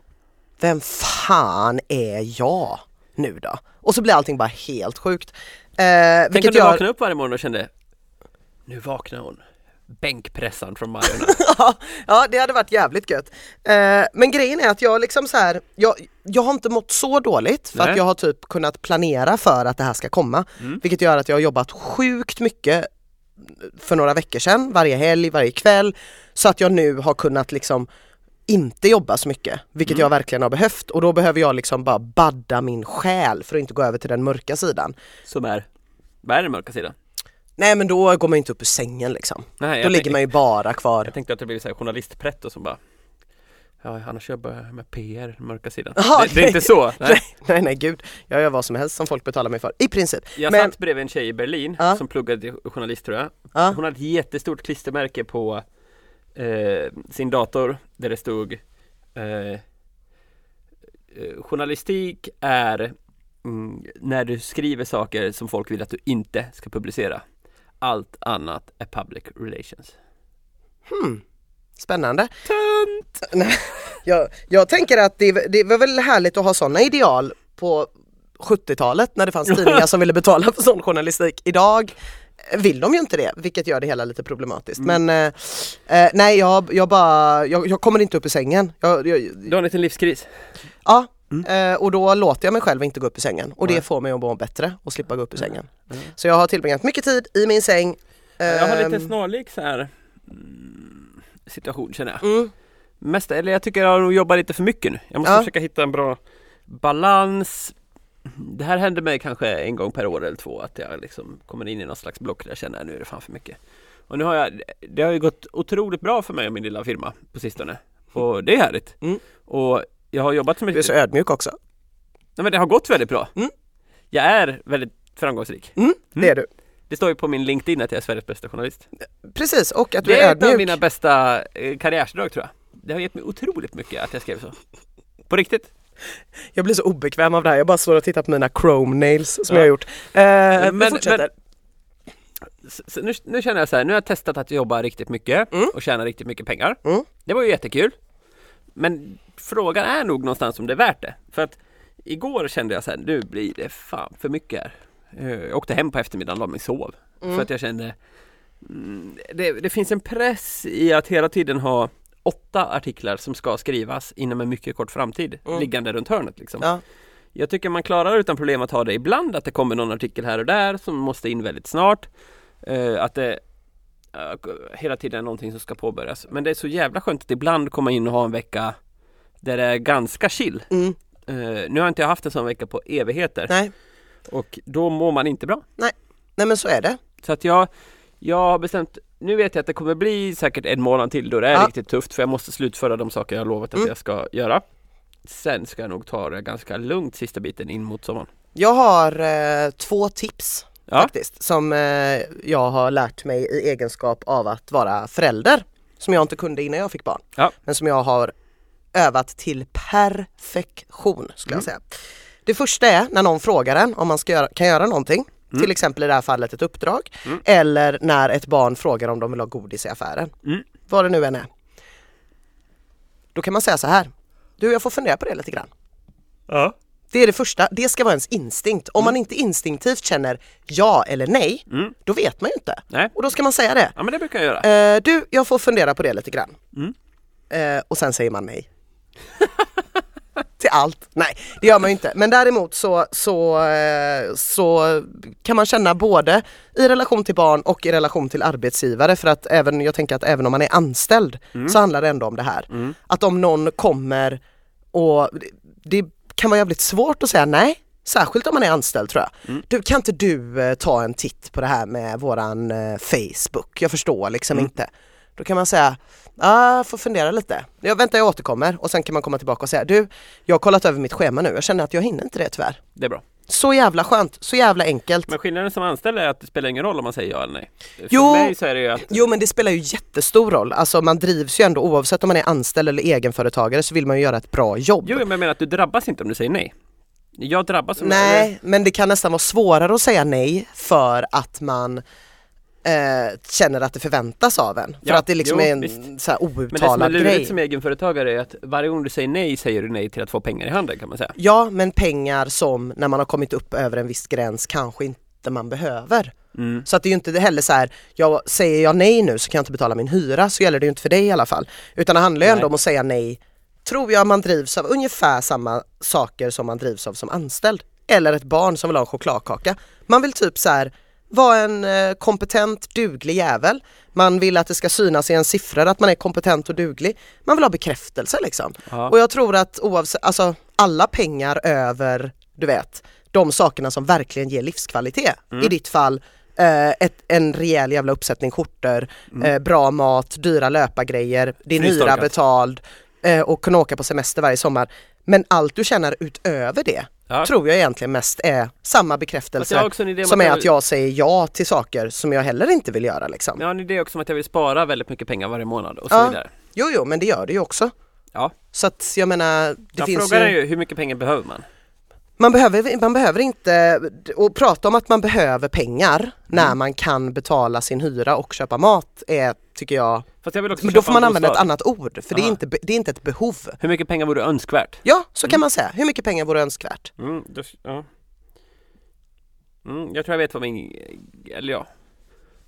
[SPEAKER 1] vem fan är jag nu då? Och så blir allting bara helt sjukt. Eh,
[SPEAKER 2] Tänk om
[SPEAKER 1] vilket
[SPEAKER 2] du
[SPEAKER 1] jag,
[SPEAKER 2] vaknade upp varje morgon och kände Nu vaknar hon Bänkpressaren
[SPEAKER 1] *laughs*
[SPEAKER 2] från Majorna
[SPEAKER 1] ja det hade varit jävligt gött. Eh, men grejen är att jag liksom så här, jag, jag har inte mått så dåligt för
[SPEAKER 2] Nej. Mm.
[SPEAKER 1] att jag har typ kunnat planera för att det här ska komma. Vilket gör att jag har jobbat sjukt mycket för några veckor sedan, varje helg, varje kväll. Så att jag nu har kunnat liksom inte jobba så mycket,
[SPEAKER 2] Mm.
[SPEAKER 1] vilket jag verkligen har behövt och då behöver jag liksom bara badda min själ för att inte gå över till den mörka sidan.
[SPEAKER 2] Som är... Vad är den mörka sidan?
[SPEAKER 1] Nej men då går man ju inte upp ur sängen liksom.
[SPEAKER 2] Nej,
[SPEAKER 1] Då
[SPEAKER 2] jag
[SPEAKER 1] ligger
[SPEAKER 2] tänk-
[SPEAKER 1] man ju bara kvar.
[SPEAKER 2] Jag tänkte att det blev så här journalistpretto som bara Ja, annars jobbar jag med PR, den mörka sidan.
[SPEAKER 1] Jaha,
[SPEAKER 2] det, det är
[SPEAKER 1] nej. *laughs*
[SPEAKER 2] inte så!
[SPEAKER 1] Nej.
[SPEAKER 2] *laughs* Nej.
[SPEAKER 1] nej, nej gud. Jag gör vad som helst som folk betalar mig för, i princip.
[SPEAKER 2] Jag
[SPEAKER 1] Men
[SPEAKER 2] satt bredvid en tjej i Berlin
[SPEAKER 1] Ja.
[SPEAKER 2] som pluggade till journalist tror jag.
[SPEAKER 1] Ja.
[SPEAKER 2] Hon hade ett jättestort klistermärke på eh, sin dator där det stod eh, eh, Journalistik är mm, när du skriver saker som folk vill att du inte ska publicera. Allt annat är public relations.
[SPEAKER 1] spännande. *laughs* Nej, jag, jag tänker att det, det var väl härligt att ha sådana ideal på 70-talet när det fanns tidningar som ville betala för sån journalistik. Idag vill de ju inte det, vilket gör det hela lite problematiskt.
[SPEAKER 2] Mm.
[SPEAKER 1] Men eh, eh, nej, jag, jag bara, jag, jag kommer inte upp ur sängen. Jag, jag,
[SPEAKER 2] Du har en liten livskris.
[SPEAKER 1] ja,
[SPEAKER 2] Mm.
[SPEAKER 1] eh, och då låter jag mig själv inte gå upp ur sängen och det får mig att må bättre och slippa gå upp ur sängen. Så jag har tillbringat mycket tid i min säng.
[SPEAKER 2] Jag har lite
[SPEAKER 1] Ehm,
[SPEAKER 2] snarlik så här mm, situation känner jag.
[SPEAKER 1] Mm.
[SPEAKER 2] Mest, eller jag tycker jag nog jobbar lite för mycket nu. Jag måste
[SPEAKER 1] Ja.
[SPEAKER 2] försöka hitta en bra balans. Det här händer mig kanske en gång per år eller två att jag liksom kommer in i någon slags block där jag känner nu är det fan för mycket. Och nu har jag, det har ju gått otroligt bra för mig och min lilla firma på sistone. Och det är härligt.
[SPEAKER 1] Mm.
[SPEAKER 2] Och jag har jobbat så
[SPEAKER 1] Du är
[SPEAKER 2] mycket.
[SPEAKER 1] så ödmjuk också.
[SPEAKER 2] Nej men det har gått väldigt bra.
[SPEAKER 1] Mm.
[SPEAKER 2] Jag är väldigt framgångsrik.
[SPEAKER 1] Mm, det är du.
[SPEAKER 2] Det står ju på min LinkedIn att jag är Sveriges bästa journalist.
[SPEAKER 1] Precis, och att du
[SPEAKER 2] det
[SPEAKER 1] är
[SPEAKER 2] är ett av
[SPEAKER 1] ödmjuk.
[SPEAKER 2] mina bästa eh, karriärsdrag tror jag. Det har gett mig otroligt mycket att jag skrev så. På riktigt.
[SPEAKER 1] Jag blir så obekväm av det här, jag bara står och tittar på mina chrome nails som
[SPEAKER 2] Ja.
[SPEAKER 1] jag har gjort. Eh, men,
[SPEAKER 2] men-
[SPEAKER 1] fortsätter.
[SPEAKER 2] S- s- nu, nu känner jag så här, nu har jag testat att jobba riktigt mycket
[SPEAKER 1] Mm.
[SPEAKER 2] och tjäna riktigt mycket pengar.
[SPEAKER 1] Mm.
[SPEAKER 2] Det var ju jättekul. Men frågan är nog någonstans om det är värt det. För att igår kände jag så här, nu blir det fan för mycket här. Eh, Jag åkte hem på eftermiddagen och la mig och sov. För att jag kände, mm, det, det finns en press i att hela tiden ha åtta artiklar som ska skrivas inom en mycket kort framtid,
[SPEAKER 1] Mm.
[SPEAKER 2] liggande runt hörnet liksom.
[SPEAKER 1] Ja.
[SPEAKER 2] Jag tycker man klarar utan problem att ha det ibland, att det kommer någon artikel här och där som måste in väldigt snart. Eh, att det eh, hela tiden är någonting som ska påbörjas. Men det är så jävla skönt att ibland komma in och ha en vecka där det är ganska chill.
[SPEAKER 1] Mm.
[SPEAKER 2] Eh, nu har inte jag haft en sån vecka på evigheter
[SPEAKER 1] Nej.
[SPEAKER 2] och då mår man inte bra.
[SPEAKER 1] Nej men så är det.
[SPEAKER 2] Så att jag, jag har bestämt, nu vet jag att det kommer bli säkert en månad till då det är
[SPEAKER 1] Ja.
[SPEAKER 2] riktigt tufft för jag måste slutföra de saker jag har lovat att
[SPEAKER 1] Mm.
[SPEAKER 2] jag ska göra. Sen ska jag nog ta det ganska lugnt sista biten in mot sommaren.
[SPEAKER 1] Jag har eh, två tips
[SPEAKER 2] Ja.
[SPEAKER 1] faktiskt som eh, jag har lärt mig i egenskap av att vara förälder. Som jag inte kunde innan jag fick barn.
[SPEAKER 2] Ja.
[SPEAKER 1] Men som jag har övat till perfektion skulle jag
[SPEAKER 2] Mm.
[SPEAKER 1] säga. Det första är när någon frågar en om man ska göra, kan göra någonting.
[SPEAKER 2] Mm.
[SPEAKER 1] Till exempel i det här fallet ett uppdrag. Eller när ett barn frågar om de vill ha godis i affären.
[SPEAKER 2] Mm.
[SPEAKER 1] Vad det nu än är. Då kan man säga så här. Du jag får fundera på det lite grann.
[SPEAKER 2] Ja.
[SPEAKER 1] Det är det första, det ska vara ens instinkt.
[SPEAKER 2] Mm.
[SPEAKER 1] Om man inte instinktivt känner ja eller nej, då vet man ju inte.
[SPEAKER 2] Nej.
[SPEAKER 1] Och då ska man säga det.
[SPEAKER 2] Ja men det brukar jag göra.
[SPEAKER 1] Eh, du, jag
[SPEAKER 2] Mm.
[SPEAKER 1] får fundera på det lite grann. Eh, och sen säger man nej. till allt. Nej, det gör man ju inte. Men däremot så, så, eh, så kan man känna både i relation till barn och i relation till arbetsgivare för att även, jag tänker att även om man är anställd så handlar det ändå om det här. Att om någon kommer och det det kan vara jävligt svårt att säga nej. Särskilt om man är anställd tror jag. Du, kan inte du eh, ta en titt på det här med våran eh, Facebook? Jag förstår liksom inte. Då kan man säga, ah, jag får fundera lite. Jag väntar jag återkommer och sen kan man komma tillbaka och säga, du jag har kollat över mitt schema nu, jag känner att jag hinner inte det tyvärr.
[SPEAKER 2] Det är bra.
[SPEAKER 1] Så jävla skönt, så jävla enkelt.
[SPEAKER 2] Men skillnaden som anställd är att det spelar ingen roll om man säger ja eller nej. För
[SPEAKER 1] Jo.
[SPEAKER 2] mig så är det ju att
[SPEAKER 1] Jo men det spelar ju jättestor roll, alltså man drivs ju ändå oavsett om man är anställd eller egenföretagare så vill man ju göra ett bra jobb.
[SPEAKER 2] Jo, men jag menar att du drabbas inte om du säger nej. Jag drabbas om
[SPEAKER 1] Nej, men det kan nästan vara svårare att säga nej för att man eh, känner att det förväntas av en. För
[SPEAKER 2] Ja,
[SPEAKER 1] att det liksom
[SPEAKER 2] jo,
[SPEAKER 1] är en
[SPEAKER 2] visst.
[SPEAKER 1] så här
[SPEAKER 2] Men det som är
[SPEAKER 1] outtalad grej.
[SPEAKER 2] lurigt som egenföretagare är att varje gång du säger nej säger du nej till att få pengar i handen kan man säga.
[SPEAKER 1] Ja, men pengar som när man har kommit upp över en viss gräns kanske inte man behöver. Så att det är ju inte heller så här, jag, säger jag nej nu så kan jag inte betala min hyra, så gäller det ju inte för dig i alla fall. Utan det handlar ju ändå
[SPEAKER 2] Nej.
[SPEAKER 1] om att säga nej, tror jag man drivs av ungefär samma saker som man drivs av som anställd. Eller ett barn som vill ha en chokladkaka. Man vill typ så här vara en eh, kompetent, duglig jävel. Man vill att det ska synas i en siffror att man är kompetent och duglig. Man vill ha bekräftelse liksom.
[SPEAKER 2] Ja.
[SPEAKER 1] Och jag tror att oavsett, alltså alla pengar över, du vet, de sakerna som verkligen ger livskvalitet.
[SPEAKER 2] Mm.
[SPEAKER 1] I ditt fall eh, ett, en rejäl jävla uppsättning skjortor, eh, bra mat, dyra löpargrejer, din hyra
[SPEAKER 2] Mm. Fristorkat.
[SPEAKER 1] betald eh, och kunna åka på semester varje sommar. Men allt du tjänar utöver det
[SPEAKER 2] Ja.
[SPEAKER 1] tror jag egentligen mest är samma
[SPEAKER 2] Fast
[SPEAKER 1] bekräftelse
[SPEAKER 2] jag har också en idé om
[SPEAKER 1] som
[SPEAKER 2] att
[SPEAKER 1] är
[SPEAKER 2] jag-
[SPEAKER 1] att jag säger ja till saker som jag heller inte vill göra liksom.
[SPEAKER 2] Jag har en idé också om att jag vill spara väldigt mycket pengar varje månad och så
[SPEAKER 1] Ja.
[SPEAKER 2] vidare.
[SPEAKER 1] Jo, jo, men det gör det ju också.
[SPEAKER 2] Ja.
[SPEAKER 1] Så att jag menar, det
[SPEAKER 2] jag
[SPEAKER 1] finns
[SPEAKER 2] frågar
[SPEAKER 1] ju...
[SPEAKER 2] är ju hur mycket pengar behöver man?
[SPEAKER 1] Man behöver, man behöver inte, och prata om att man behöver pengar
[SPEAKER 2] Mm.
[SPEAKER 1] när man kan betala sin hyra och köpa mat är, tycker jag,
[SPEAKER 2] Fast jag vill också
[SPEAKER 1] men då
[SPEAKER 2] köpa
[SPEAKER 1] får man
[SPEAKER 2] en
[SPEAKER 1] använda ett
[SPEAKER 2] bostad.
[SPEAKER 1] annat ord för det är,
[SPEAKER 2] Aha.
[SPEAKER 1] inte, be- det är inte ett behov.
[SPEAKER 2] Hur mycket pengar vore önskvärt?
[SPEAKER 1] Ja, så kan man säga. Hur mycket pengar vore önskvärt?
[SPEAKER 2] Mm, det, ja. mm, jag tror jag vet vad min... Eller ja.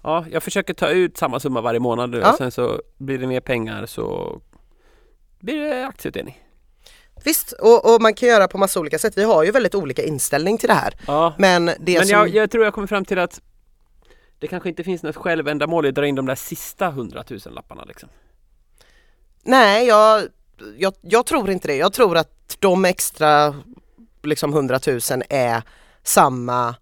[SPEAKER 2] Ja, jag försöker ta ut samma summa varje månad nu
[SPEAKER 1] Ja.
[SPEAKER 2] och sen så blir det mer pengar så blir det aktieutdelning.
[SPEAKER 1] Visst, och, och man kan göra på massa olika sätt. Vi har ju väldigt olika inställning till det här.
[SPEAKER 2] Ja.
[SPEAKER 1] Men det
[SPEAKER 2] Men
[SPEAKER 1] som...
[SPEAKER 2] jag, jag tror jag kommer fram till att det kanske inte finns något självändamål i att dra in de där sista hundratusen lapparna liksom.
[SPEAKER 1] Nej, jag, jag, jag tror inte det. Jag tror att de extra liksom 100 000 är samma,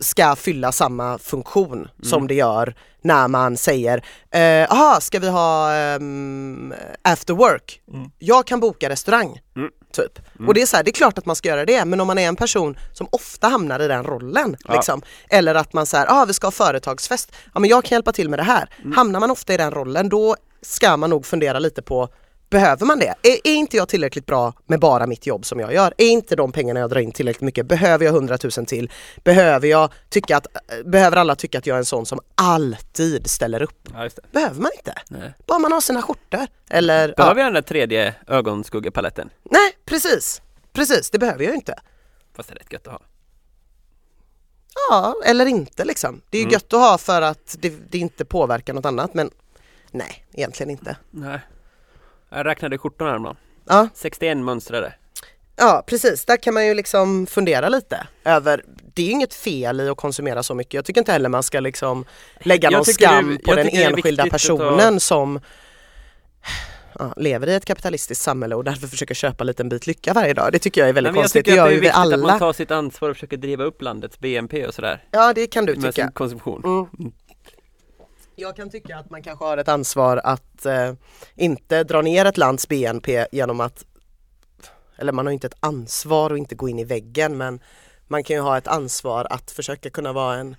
[SPEAKER 1] ska fylla samma funktion som det gör när man säger, eh, aha, ska vi ha ehm, after work? Jag kan boka restaurang. Typ.
[SPEAKER 2] Mm.
[SPEAKER 1] Och det är så här, det är klart att man ska göra det men om man är en person som ofta hamnar i den rollen
[SPEAKER 2] Ja.
[SPEAKER 1] liksom, eller att man säger, ah vi ska ha företagsfest, ja men jag kan hjälpa till med det här.
[SPEAKER 2] Mm.
[SPEAKER 1] Hamnar man ofta i den rollen då ska man nog fundera lite på Behöver man det? Är, är inte jag tillräckligt bra med bara mitt jobb som jag gör? Är inte de pengarna jag drar in tillräckligt mycket? Behöver jag 100 000 till? Behöver, jag tycka att, eh, behöver alla tycka att jag är en sån som alltid ställer upp?
[SPEAKER 2] Ja, just det.
[SPEAKER 1] Behöver man inte.
[SPEAKER 2] Nej.
[SPEAKER 1] Bara man har sina skjortor. Eller,
[SPEAKER 2] Behöver
[SPEAKER 1] ja.
[SPEAKER 2] jag den där tredje ögonskuggepaletten?
[SPEAKER 1] Nej, precis. Precis, det behöver jag ju inte.
[SPEAKER 2] Fast det är rätt gött att ha.
[SPEAKER 1] Ja, eller inte liksom. Det är
[SPEAKER 2] Mm.
[SPEAKER 1] ju gött att ha för att det, det inte påverkar något annat men nej, egentligen inte.
[SPEAKER 2] Nej. Jag räknade skjortorna häromdagen.
[SPEAKER 1] Ja,
[SPEAKER 2] 61 mönstrade.
[SPEAKER 1] ja precis, där kan man ju liksom fundera lite över det är ju inget fel i att konsumera så mycket. Jag tycker inte heller man ska liksom lägga
[SPEAKER 2] Jag
[SPEAKER 1] någon
[SPEAKER 2] tycker
[SPEAKER 1] skam
[SPEAKER 2] det-
[SPEAKER 1] på
[SPEAKER 2] jag
[SPEAKER 1] den
[SPEAKER 2] tycker det är
[SPEAKER 1] enskilda
[SPEAKER 2] viktigt att ta-
[SPEAKER 1] personen som ja, lever i ett kapitalistiskt samhälle och därför försöker köpa en liten bit lycka varje dag. Det tycker jag är väldigt
[SPEAKER 2] Nej, men jag
[SPEAKER 1] konstigt.
[SPEAKER 2] tycker att
[SPEAKER 1] gör
[SPEAKER 2] det är
[SPEAKER 1] ju vi
[SPEAKER 2] viktigt att man
[SPEAKER 1] alla.
[SPEAKER 2] tar sitt ansvar och försöker driva upp landets BNP och sådär.
[SPEAKER 1] Ja, det kan du
[SPEAKER 2] Med
[SPEAKER 1] tycka.
[SPEAKER 2] sin konsumtion.
[SPEAKER 1] Jag kan tycka att man kanske har ett ansvar att eh, inte dra ner ett lands BNP genom att, eller man har ju inte ett ansvar att inte gå in i väggen men man kan ju ha ett ansvar att försöka kunna vara en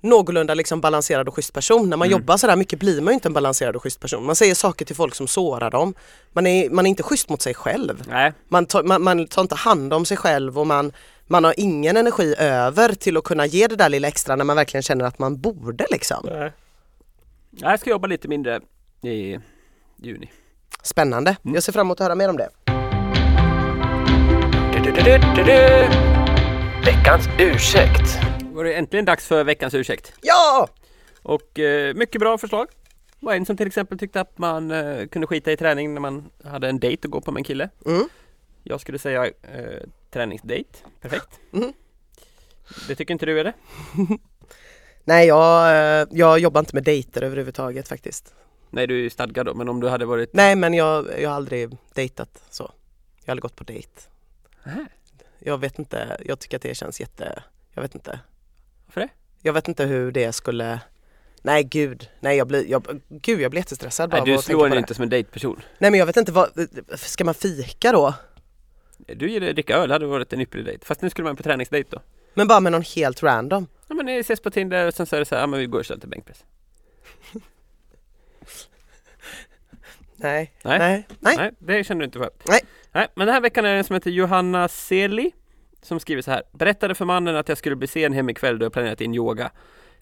[SPEAKER 1] någorlunda liksom balanserad och schysst person. När man jobbar sådär mycket blir man ju inte en balanserad och schysst person. Man säger saker till folk som sårar dem. Man är, man är inte schysst mot sig själv.
[SPEAKER 2] Nej.
[SPEAKER 1] Man tar, man, man tar inte hand om sig själv och man, man har ingen energi över till att kunna ge det där lilla extra när man verkligen känner att man borde liksom.
[SPEAKER 2] Nej. Jag ska jobba lite mindre i juni.
[SPEAKER 1] Spännande.
[SPEAKER 2] Mm.
[SPEAKER 1] Jag ser fram emot att höra mer om det.
[SPEAKER 3] Veckans ursäkt.
[SPEAKER 2] Var det äntligen dags för veckans ursäkt?
[SPEAKER 1] Ja!
[SPEAKER 2] Och eh, mycket bra förslag. Det var en som till exempel tyckte att man eh, kunde skita i träning när man hade en dejt att gå på med en kille.
[SPEAKER 1] Mm.
[SPEAKER 2] Jag skulle säga eh, träningsdate. Perfekt.
[SPEAKER 1] Mm.
[SPEAKER 2] Det tycker inte du eller?
[SPEAKER 1] Nej jag, eh, jag jobbar inte med dejter överhuvudtaget faktiskt.
[SPEAKER 2] Nej, du är ju stadgad då, men om du hade varit...
[SPEAKER 1] Nej men jag, jag har aldrig dejtat så. Jag har aldrig gått på dejt.
[SPEAKER 2] Nähä,
[SPEAKER 1] Jag vet inte, jag tycker att det känns jätte, jag vet inte.
[SPEAKER 2] Varför det?
[SPEAKER 1] Jag vet inte hur det skulle Nej gud, nej jag blir, jag, gud jag blir jättestressad bara
[SPEAKER 2] Nej,
[SPEAKER 1] av
[SPEAKER 2] du
[SPEAKER 1] att tänka på
[SPEAKER 2] slår
[SPEAKER 1] det.
[SPEAKER 2] henne inte som en dateperson.
[SPEAKER 1] Nej men jag vet inte vad, ska man fika då?
[SPEAKER 2] Du gillar att dricka öl, hade varit en ypperlig dejt. Fast nu skulle man på träningsdejt då.
[SPEAKER 1] Men bara med någon helt random.
[SPEAKER 2] Ja men ni ses på Tinder och sen så är det så här, ja men vi går och kör lite bänkpress.
[SPEAKER 1] Nej,
[SPEAKER 2] Nej.
[SPEAKER 1] nej, nej.
[SPEAKER 2] Nej, det känner du inte för.
[SPEAKER 1] Nej.
[SPEAKER 2] Nej, men den här veckan är det en som heter Johanna Seli som skriver så här. Berättade för mannen att jag skulle bli sen hem ikväll då jag planerat in yoga.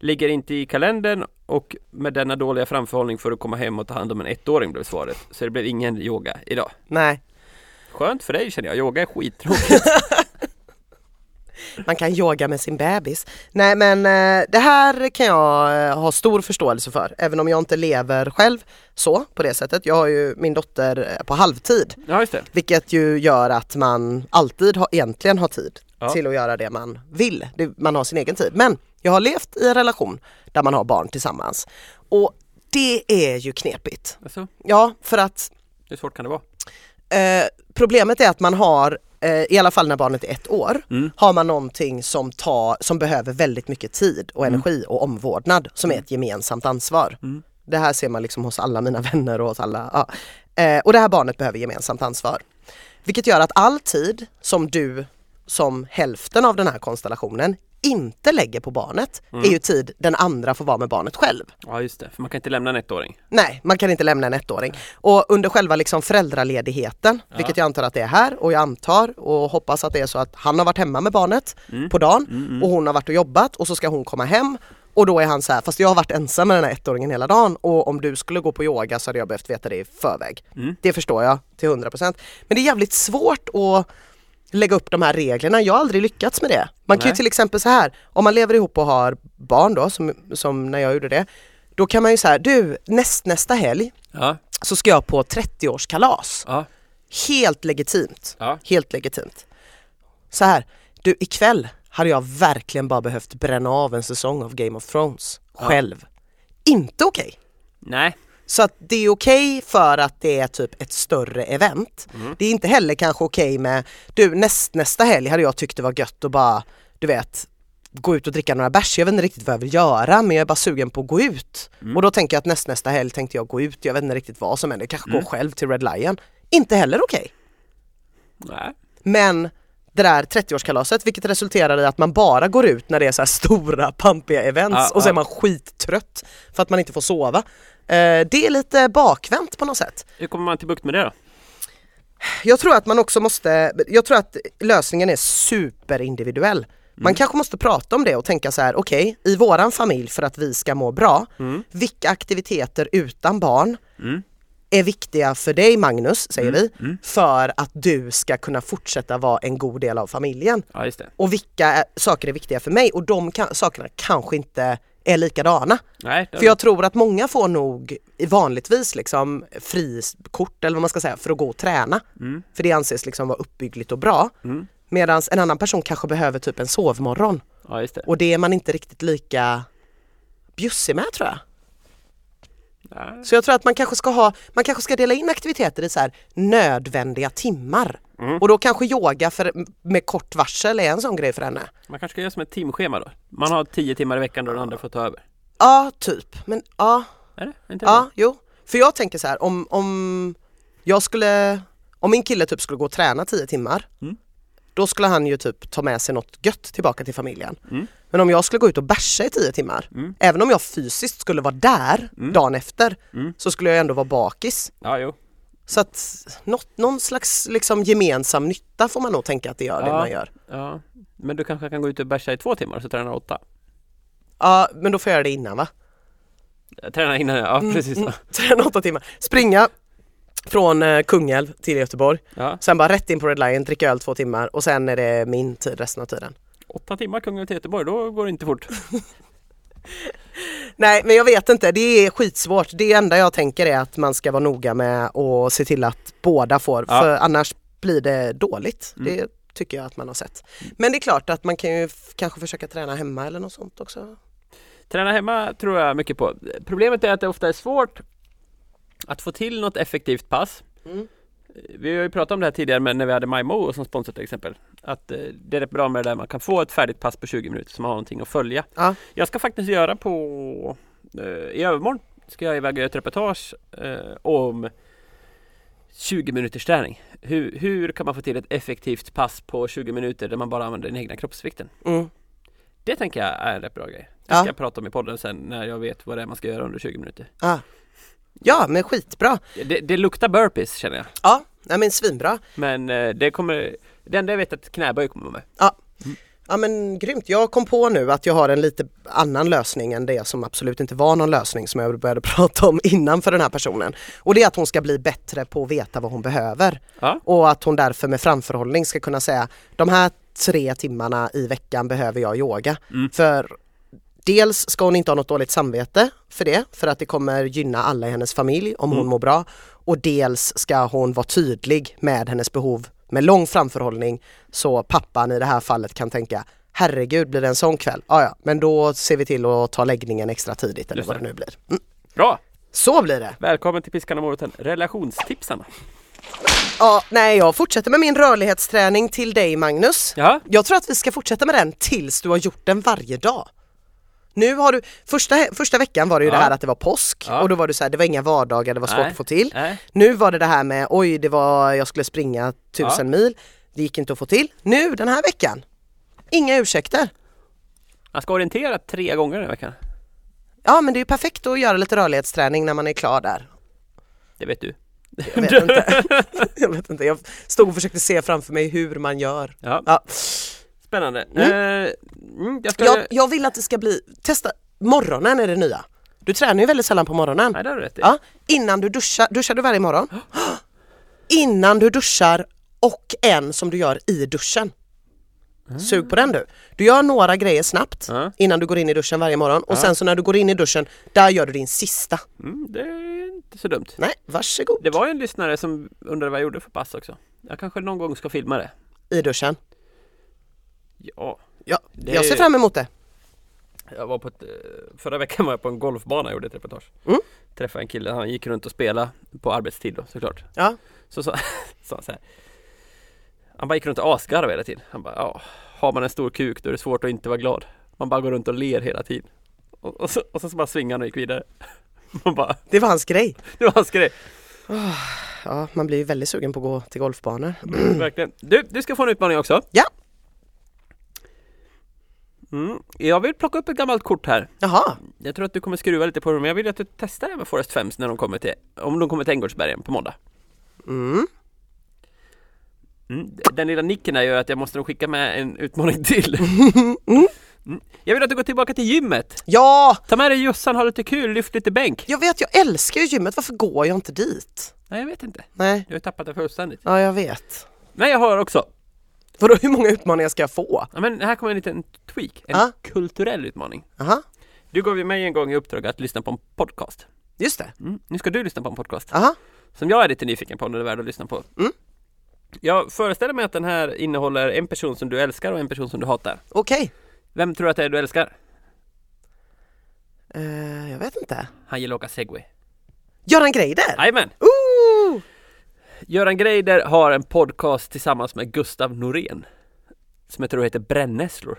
[SPEAKER 2] Ligger inte i kalendern och med denna dåliga framförhållning för att komma hem och ta hand om en ettåring blev svaret. Så det blev ingen yoga idag.
[SPEAKER 1] nej.
[SPEAKER 2] Skönt för dig känner jag, yoga är skittråkigt.
[SPEAKER 1] Man kan yoga med sin bebis. Nej men eh, det här kan jag eh, ha stor förståelse för, även om jag inte lever själv så på det sättet. Jag har ju min dotter eh, på halvtid.
[SPEAKER 2] *laughs* ja just det.
[SPEAKER 1] Vilket ju gör att man alltid har, egentligen har tid
[SPEAKER 2] Ja.
[SPEAKER 1] till att göra det man vill. Det, man har sin egen tid. Men jag har levt i en relation där man har barn tillsammans. Och det är ju knepigt.
[SPEAKER 2] Alltså,
[SPEAKER 1] Ja, för att
[SPEAKER 2] hur svårt kan det vara?
[SPEAKER 1] eh, problemet är att man har eh, i alla fall när barnet är ett år, har man någonting som, tar, som behöver väldigt mycket tid och energi och omvårdnad som är ett gemensamt ansvar. Det här ser man liksom hos alla mina *laughs* vänner och hos alla. Ja. Eh, och det här barnet behöver gemensamt ansvar. Vilket gör att all tid som du som hälften av den här konstellationen inte lägger på barnet är ju tid den andra får vara med barnet själv.
[SPEAKER 2] Ja just det, för man kan inte lämna en ettåring.
[SPEAKER 1] Nej, man kan inte lämna en ettåring. Och under själva liksom föräldraledigheten, vilket jag antar att det är här och jag antar och hoppas att det är så att han har varit hemma med barnet på dagen och hon har varit och jobbat och så ska hon komma hem och då är han så här, fast jag har varit ensam med den här ettåringen hela dagen och om du skulle gå på yoga så hade jag behövt veta det i förväg. Det förstår jag till 100%. Men det är jävligt svårt att lägga upp de här reglerna. Jag har aldrig lyckats med det. Man kan ju
[SPEAKER 2] Nej.
[SPEAKER 1] till exempel så här, om man lever ihop och har barn då, som, som när jag gjorde det, då kan man ju så här, du näst, nästa helg
[SPEAKER 2] Ja,
[SPEAKER 1] så ska jag på 30-årskalas.
[SPEAKER 2] ja,
[SPEAKER 1] Helt legitimt.
[SPEAKER 2] ja.
[SPEAKER 1] Helt legitimt. Så här, du ikväll hade jag verkligen bara behövt bränna av en säsong av Game of Thrones själv. Inte okej.
[SPEAKER 2] Nej,
[SPEAKER 1] Så att det är okej för att det är typ ett större event. Det är inte heller kanske okej med, du näst, nästa helg hade jag tyckt det var gött att bara, du vet, gå ut och dricka några bärs. Jag vet inte riktigt vad jag vill göra men jag är bara sugen på att gå ut. Och då tänker jag att näst, nästa helg tänkte jag gå ut, jag vet inte riktigt vad som händer, kanske gå själv till Red Lion. Inte heller okej.
[SPEAKER 2] nej.
[SPEAKER 1] Men det där 30-årskalaset vilket resulterar i att man bara går ut när det är så här stora pampiga events
[SPEAKER 2] Ja,
[SPEAKER 1] och så
[SPEAKER 2] ja.
[SPEAKER 1] är man skittrött för att man inte får sova. Eh, Det är lite bakvänt på något sätt.
[SPEAKER 2] Hur kommer man till bukt med det då?
[SPEAKER 1] Jag tror att man också måste, jag tror att lösningen är superindividuell. Man
[SPEAKER 2] Mm.
[SPEAKER 1] kanske måste prata om det och tänka så här, okej, i våran familj för att vi ska må bra,
[SPEAKER 2] Mm.
[SPEAKER 1] vilka aktiviteter utan barn är viktiga för dig Magnus, säger
[SPEAKER 2] Mm.
[SPEAKER 1] vi, för att du ska kunna fortsätta vara en god del av familjen?
[SPEAKER 2] Ja just det.
[SPEAKER 1] och vilka är- saker är viktiga för mig och de kan, sakerna kanske inte är likadana.
[SPEAKER 2] Nej, det
[SPEAKER 1] För jag tror att många får nog i- vanligtvis liksom frikort eller vad man ska säga för att gå och träna. För det anses liksom vara uppbyggligt och bra. Medan en annan person kanske behöver typ en sovmorgon
[SPEAKER 2] ja, just det.
[SPEAKER 1] och det är man inte riktigt lika bjussig med tror jag.
[SPEAKER 2] Nej.
[SPEAKER 1] Så jag tror att man kanske ska ha, man kanske ska dela in aktiviteter i så här nödvändiga timmar. Och då kanske yoga för, med kort varsel är en sån grej för henne.
[SPEAKER 2] Man kanske ska göra som ett timschema då? Man har tio timmar i veckan då den andra får ta över.
[SPEAKER 1] Ja, typ. Men ja,
[SPEAKER 2] Är det? Inte
[SPEAKER 1] ja, jo. För jag tänker så här, om, om jag skulle, om min kille typ skulle gå och träna 10 timmar, då skulle han ju typ ta med sig något gött tillbaka till familjen. Men om jag skulle gå ut och bärsa i 10 timmar, även om jag fysiskt skulle vara där dagen efter, så skulle jag ändå vara bakis.
[SPEAKER 2] Ja, jo.
[SPEAKER 1] Så att något, någon slags liksom gemensam nytta får man nog tänka att det gör, det
[SPEAKER 2] Ja.
[SPEAKER 1] man gör.
[SPEAKER 2] Ja. Men du kanske kan gå ut och bärsa i två timmar och så tränar åtta?
[SPEAKER 1] Ja, men då får jag göra det innan va? *laughs*
[SPEAKER 2] Eh, Träna innan, ja precis.
[SPEAKER 1] Träna åtta timmar, springa från eh, Kungälv till Göteborg.
[SPEAKER 2] Ja.
[SPEAKER 1] Sen bara rätt in på Red Lion, dricka öl två timmar och sen är det min tid resten av tiden.
[SPEAKER 2] Åtta timmar Kungälv till Göteborg, då går det inte fort.
[SPEAKER 1] Nej men jag vet inte, det är skitsvårt. Det enda jag tänker är att man ska vara noga med att se till att båda får,
[SPEAKER 2] Ja. Mm.
[SPEAKER 1] för annars blir det dåligt. Det tycker jag att man har sett. Men det är klart att man kan ju f- kanske försöka träna hemma eller något sånt också.
[SPEAKER 2] Träna hemma tror jag mycket på. Problemet är att det ofta är svårt att få till något effektivt pass.
[SPEAKER 1] Mm.
[SPEAKER 2] Vi har ju pratat om det här tidigare men när vi hade MyMo som sponsor till exempel. Att eh, det är rätt bra med det där man kan få ett färdigt pass på 20 minuter så man har någonting att följa.
[SPEAKER 1] Ja.
[SPEAKER 2] Jag ska faktiskt göra på eh, i övermorgon ska jag iväg och göra ett reportage eh, om 20 minuters träning. Hur, hur kan man få till ett effektivt pass på 20 minuter där man bara använder den egna kroppsvikten?
[SPEAKER 1] Mm.
[SPEAKER 2] Det tänker jag är en rätt bra grej. Det
[SPEAKER 1] Ja.
[SPEAKER 2] ska jag prata om i podden sen när jag vet vad det är man ska göra under 20 minuter.
[SPEAKER 1] Ja. ja men skitbra.
[SPEAKER 2] Det, det luktar burpees känner jag.
[SPEAKER 1] Ja, nej, men svinbra.
[SPEAKER 2] Men eh, det kommer, det enda jag vet är att knäböj kommer med.
[SPEAKER 1] Ja. ja men grymt. Jag kom på nu att jag har en lite annan lösning än det som absolut inte var någon lösning som jag började *laughs* prata om innan för den här personen. Och det är att hon ska bli bättre på att veta vad hon behöver.
[SPEAKER 2] Ja.
[SPEAKER 1] Och att hon därför med framförhållning ska kunna säga de här tre timmarna i veckan behöver jag yoga.
[SPEAKER 2] Mm.
[SPEAKER 1] För dels ska hon inte ha något dåligt samvete för det, för att det kommer gynna alla i hennes familj om
[SPEAKER 2] Mm.
[SPEAKER 1] hon mår bra. Och dels ska hon vara tydlig med hennes behov med lång framförhållning så pappan i det här fallet kan tänka herregud blir det en sån kväll? Ja, ja, men då ser vi till att ta läggningen extra tidigt eller
[SPEAKER 2] Just
[SPEAKER 1] vad
[SPEAKER 2] det.
[SPEAKER 1] det nu blir. Mm.
[SPEAKER 2] Bra!
[SPEAKER 1] Så blir det!
[SPEAKER 2] Välkommen till Piskan och moroten, relationstipsarna.
[SPEAKER 1] Ja, nej jag fortsätter med min rörlighetsträning till dig Magnus.
[SPEAKER 2] Ja,
[SPEAKER 1] Jag tror att vi ska fortsätta med den tills du har gjort den varje dag. Nu har du, första, första veckan var det ju
[SPEAKER 2] Ja.
[SPEAKER 1] det här att det var påsk
[SPEAKER 2] Ja.
[SPEAKER 1] och då var det så här, det var inga vardagar, det var svårt
[SPEAKER 2] Nej.
[SPEAKER 1] att få till.
[SPEAKER 2] Nej.
[SPEAKER 1] Nu var det det här med, oj det var, jag skulle springa tusen mil, det gick inte att få till. Nu den här veckan, inga ursäkter.
[SPEAKER 2] man ska orientera tre gånger i veckan.
[SPEAKER 1] Ja men det är ju perfekt att göra lite rörlighetsträning när man är klar där.
[SPEAKER 2] Det vet du.
[SPEAKER 1] Jag vet inte,
[SPEAKER 2] *laughs*
[SPEAKER 1] jag, vet inte. jag stod och försökte se framför mig hur man gör.
[SPEAKER 2] Ja,
[SPEAKER 1] Ja.
[SPEAKER 2] spännande.
[SPEAKER 1] Mm.
[SPEAKER 2] Eh, mm, jag ska...
[SPEAKER 1] Jag, jag vill att det ska bli, testa, morgonen är det nya. Du tränar ju väldigt sällan på morgonen.
[SPEAKER 2] Nej, det har du rätt i.
[SPEAKER 1] Ja, innan du duschar, duschar du varje morgon? Innan du duschar och en som du gör i duschen. Sug på den du. Du gör några grejer snabbt
[SPEAKER 2] Ja.
[SPEAKER 1] innan du går in i duschen varje morgon och sen så när du går in i duschen, där gör du din sista.
[SPEAKER 2] Mm, det är inte så dumt.
[SPEAKER 1] Nej, varsågod.
[SPEAKER 2] Det var ju en lyssnare som undrade vad jag gjorde för pass också. Jag kanske någon gång ska filma det.
[SPEAKER 1] I duschen.
[SPEAKER 2] Ja,
[SPEAKER 1] Ja,
[SPEAKER 2] Det
[SPEAKER 1] jag
[SPEAKER 2] är-
[SPEAKER 1] ser fram emot det.
[SPEAKER 2] Jag var på ett, eh, förra veckan var jag på en golfbana och gjorde ett reportage.
[SPEAKER 1] Mm.
[SPEAKER 2] Träffade en kille, han gick runt och spelade på arbetstid då såklart.
[SPEAKER 1] Ja.
[SPEAKER 2] Så sa *laughs* sa han så här. Han bara gick runt och asgarvade hela tiden. Han bara, ja, har man en stor kuk då är det svårt att inte vara glad. Man bara går runt och ler hela tiden. Och, och, så, och så bara svingade han och gick vidare. *laughs* Man bara,
[SPEAKER 1] Det var hans grej.
[SPEAKER 2] det var hans grej. *clears throat*
[SPEAKER 1] Ja, man blir ju väldigt sugen på att gå till golfbanor.
[SPEAKER 2] Verkligen. Du, du ska få en utmaning också.
[SPEAKER 1] Ja.
[SPEAKER 2] Mm. Jag vill plocka upp ett gammalt kort här.
[SPEAKER 1] Jaha,
[SPEAKER 2] Jag tror att du kommer skruva lite på det men jag vill att du testar det med Forest 5 när de kommer till, om de kommer till Änggårdsbergen på måndag.
[SPEAKER 1] mm.
[SPEAKER 2] Mm. Den lilla nicken här gör att jag måste nog skicka med en
[SPEAKER 1] *laughs*
[SPEAKER 2] utmaning till. Mm. Jag vill att du går tillbaka till gymmet.
[SPEAKER 1] ja,
[SPEAKER 2] Ta med dig Jossan, ha lite kul, lyft lite bänk.
[SPEAKER 1] jag vet jag älskar ju gymmet, varför går jag inte dit?
[SPEAKER 2] Nej, jag vet inte.
[SPEAKER 1] Nej,
[SPEAKER 2] Jag har tappat det fullständigt.
[SPEAKER 1] ja jag vet.
[SPEAKER 2] Men jag har också.
[SPEAKER 1] Vadå hur många utmaningar ska jag få?
[SPEAKER 2] Ja, men här kommer en liten tweak. En
[SPEAKER 1] Ja.
[SPEAKER 2] kulturell utmaning.
[SPEAKER 1] Aha.
[SPEAKER 2] Du gav ju mig en gång i uppdrag att lyssna på en podcast.
[SPEAKER 1] Just det.
[SPEAKER 2] Mm. Nu ska du lyssna på en podcast.
[SPEAKER 1] Aha.
[SPEAKER 2] som jag är lite nyfiken på om den är värd att lyssna på.
[SPEAKER 1] Mm.
[SPEAKER 2] Jag föreställer mig att den här innehåller en person som du älskar och en person som du hatar.
[SPEAKER 1] Okej.
[SPEAKER 2] Vem tror du att det är du älskar?
[SPEAKER 1] Eh, jag vet inte.
[SPEAKER 2] Han gillar att åka segway.
[SPEAKER 1] Göran Greider?
[SPEAKER 2] Jajamän!
[SPEAKER 1] Ooh!
[SPEAKER 2] Göran Greider har en podcast tillsammans med Gustav Norén. Som jag tror heter Brännässlor.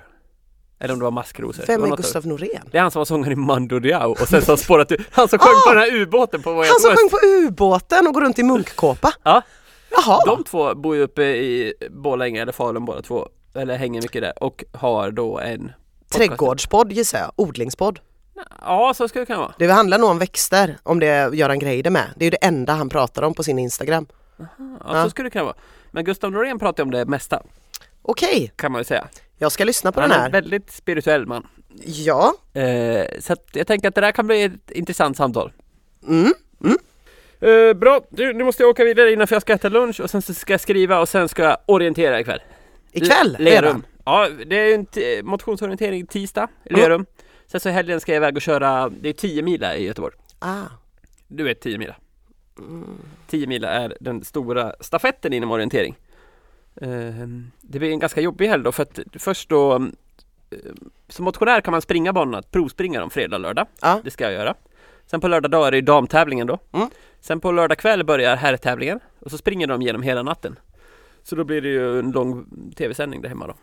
[SPEAKER 2] Eller om det var Maskrosor. Det
[SPEAKER 1] Vem
[SPEAKER 2] var
[SPEAKER 1] är
[SPEAKER 2] något av-
[SPEAKER 1] Gustav Norén?
[SPEAKER 2] Det är han som var sångaren i Mando Diao och sen så har spårat ut. Han som sjöng på den här ubåten på Way
[SPEAKER 1] Ah! Han
[SPEAKER 2] Out
[SPEAKER 1] som
[SPEAKER 2] West.
[SPEAKER 1] sjöng på ubåten och går runt i munkkåpa?
[SPEAKER 2] Ja,
[SPEAKER 1] Jaha,
[SPEAKER 2] De två bor ju uppe i Borlänge eller Falun båda två. Eller hänger mycket där och har då en
[SPEAKER 1] trädgårdspodd gissar jag, odlingspodd.
[SPEAKER 2] Ja, så skulle det kunna vara.
[SPEAKER 1] Det handlar nog om växter, om det är Göran Greider med. Det är ju det enda han pratar om på sin Instagram.
[SPEAKER 2] Ja, så skulle det kunna vara. Men Gustav Norén pratar ju om det mesta,
[SPEAKER 1] Okej,
[SPEAKER 2] kan man ju säga.
[SPEAKER 1] jag ska lyssna på
[SPEAKER 2] Han
[SPEAKER 1] den
[SPEAKER 2] är en
[SPEAKER 1] här.
[SPEAKER 2] väldigt spirituell man.
[SPEAKER 1] Ja,
[SPEAKER 2] Eh, så att jag tänker att det där kan bli ett intressant samtal.
[SPEAKER 1] mm.
[SPEAKER 2] Eh, bra, du, nu måste jag åka vidare innan för jag ska äta lunch och sen så ska jag skriva och sen ska jag orientera ikväll.
[SPEAKER 1] ikväll
[SPEAKER 2] L- Lerum.
[SPEAKER 1] redan.
[SPEAKER 2] Ja, det är ju en t- motionsorientering tisdag, i
[SPEAKER 1] Mm.
[SPEAKER 2] Lerum. Sen så i helgen ska jag iväg och köra, det är 10 mil här i Göteborg.
[SPEAKER 1] Ah.
[SPEAKER 2] Du vet 10 mil. 10 mil är den stora stafetten inom orientering. Ehm, Det blir en ganska jobbig helg då för att först då ehm, Som motionär kan man springa banorna, provspringa dem fredag, lördag
[SPEAKER 1] Ja.
[SPEAKER 2] Det ska jag göra Sen på lördag dag är det ju damtävlingen då
[SPEAKER 1] Mm.
[SPEAKER 2] Sen på lördag kväll börjar herrtävlingen Och så springer de genom hela natten Så då blir det ju en lång tv-sändning där hemma då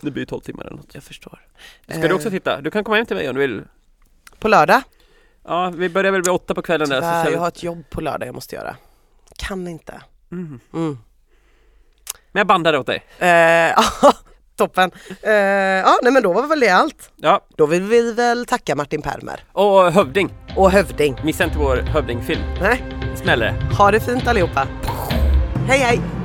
[SPEAKER 2] Det blir ju 12 timmar eller något
[SPEAKER 1] Mm. Jag förstår. Eh.
[SPEAKER 2] Ska du också titta? Du kan komma hem till mig om du vill
[SPEAKER 1] På lördag?
[SPEAKER 2] Ja, vi börjar väl vid åtta på kvällen där så
[SPEAKER 1] Tyvärr,
[SPEAKER 2] sen...
[SPEAKER 1] jag har ett jobb på lördag jag måste göra. Kan inte.
[SPEAKER 2] mm.
[SPEAKER 1] Mm.
[SPEAKER 2] Men jag bandar det åt dig
[SPEAKER 1] Eh, *laughs* ja, toppen. Eh, ja, nej men då var väl det allt.
[SPEAKER 2] Ja,
[SPEAKER 1] Då vill vi väl tacka Martin Permer
[SPEAKER 2] och Hövding
[SPEAKER 1] och Hövding.
[SPEAKER 2] Missa inte vår Hövding-film
[SPEAKER 1] Nej,
[SPEAKER 2] Smäller det
[SPEAKER 1] ha det fint allihopa. Hej hej!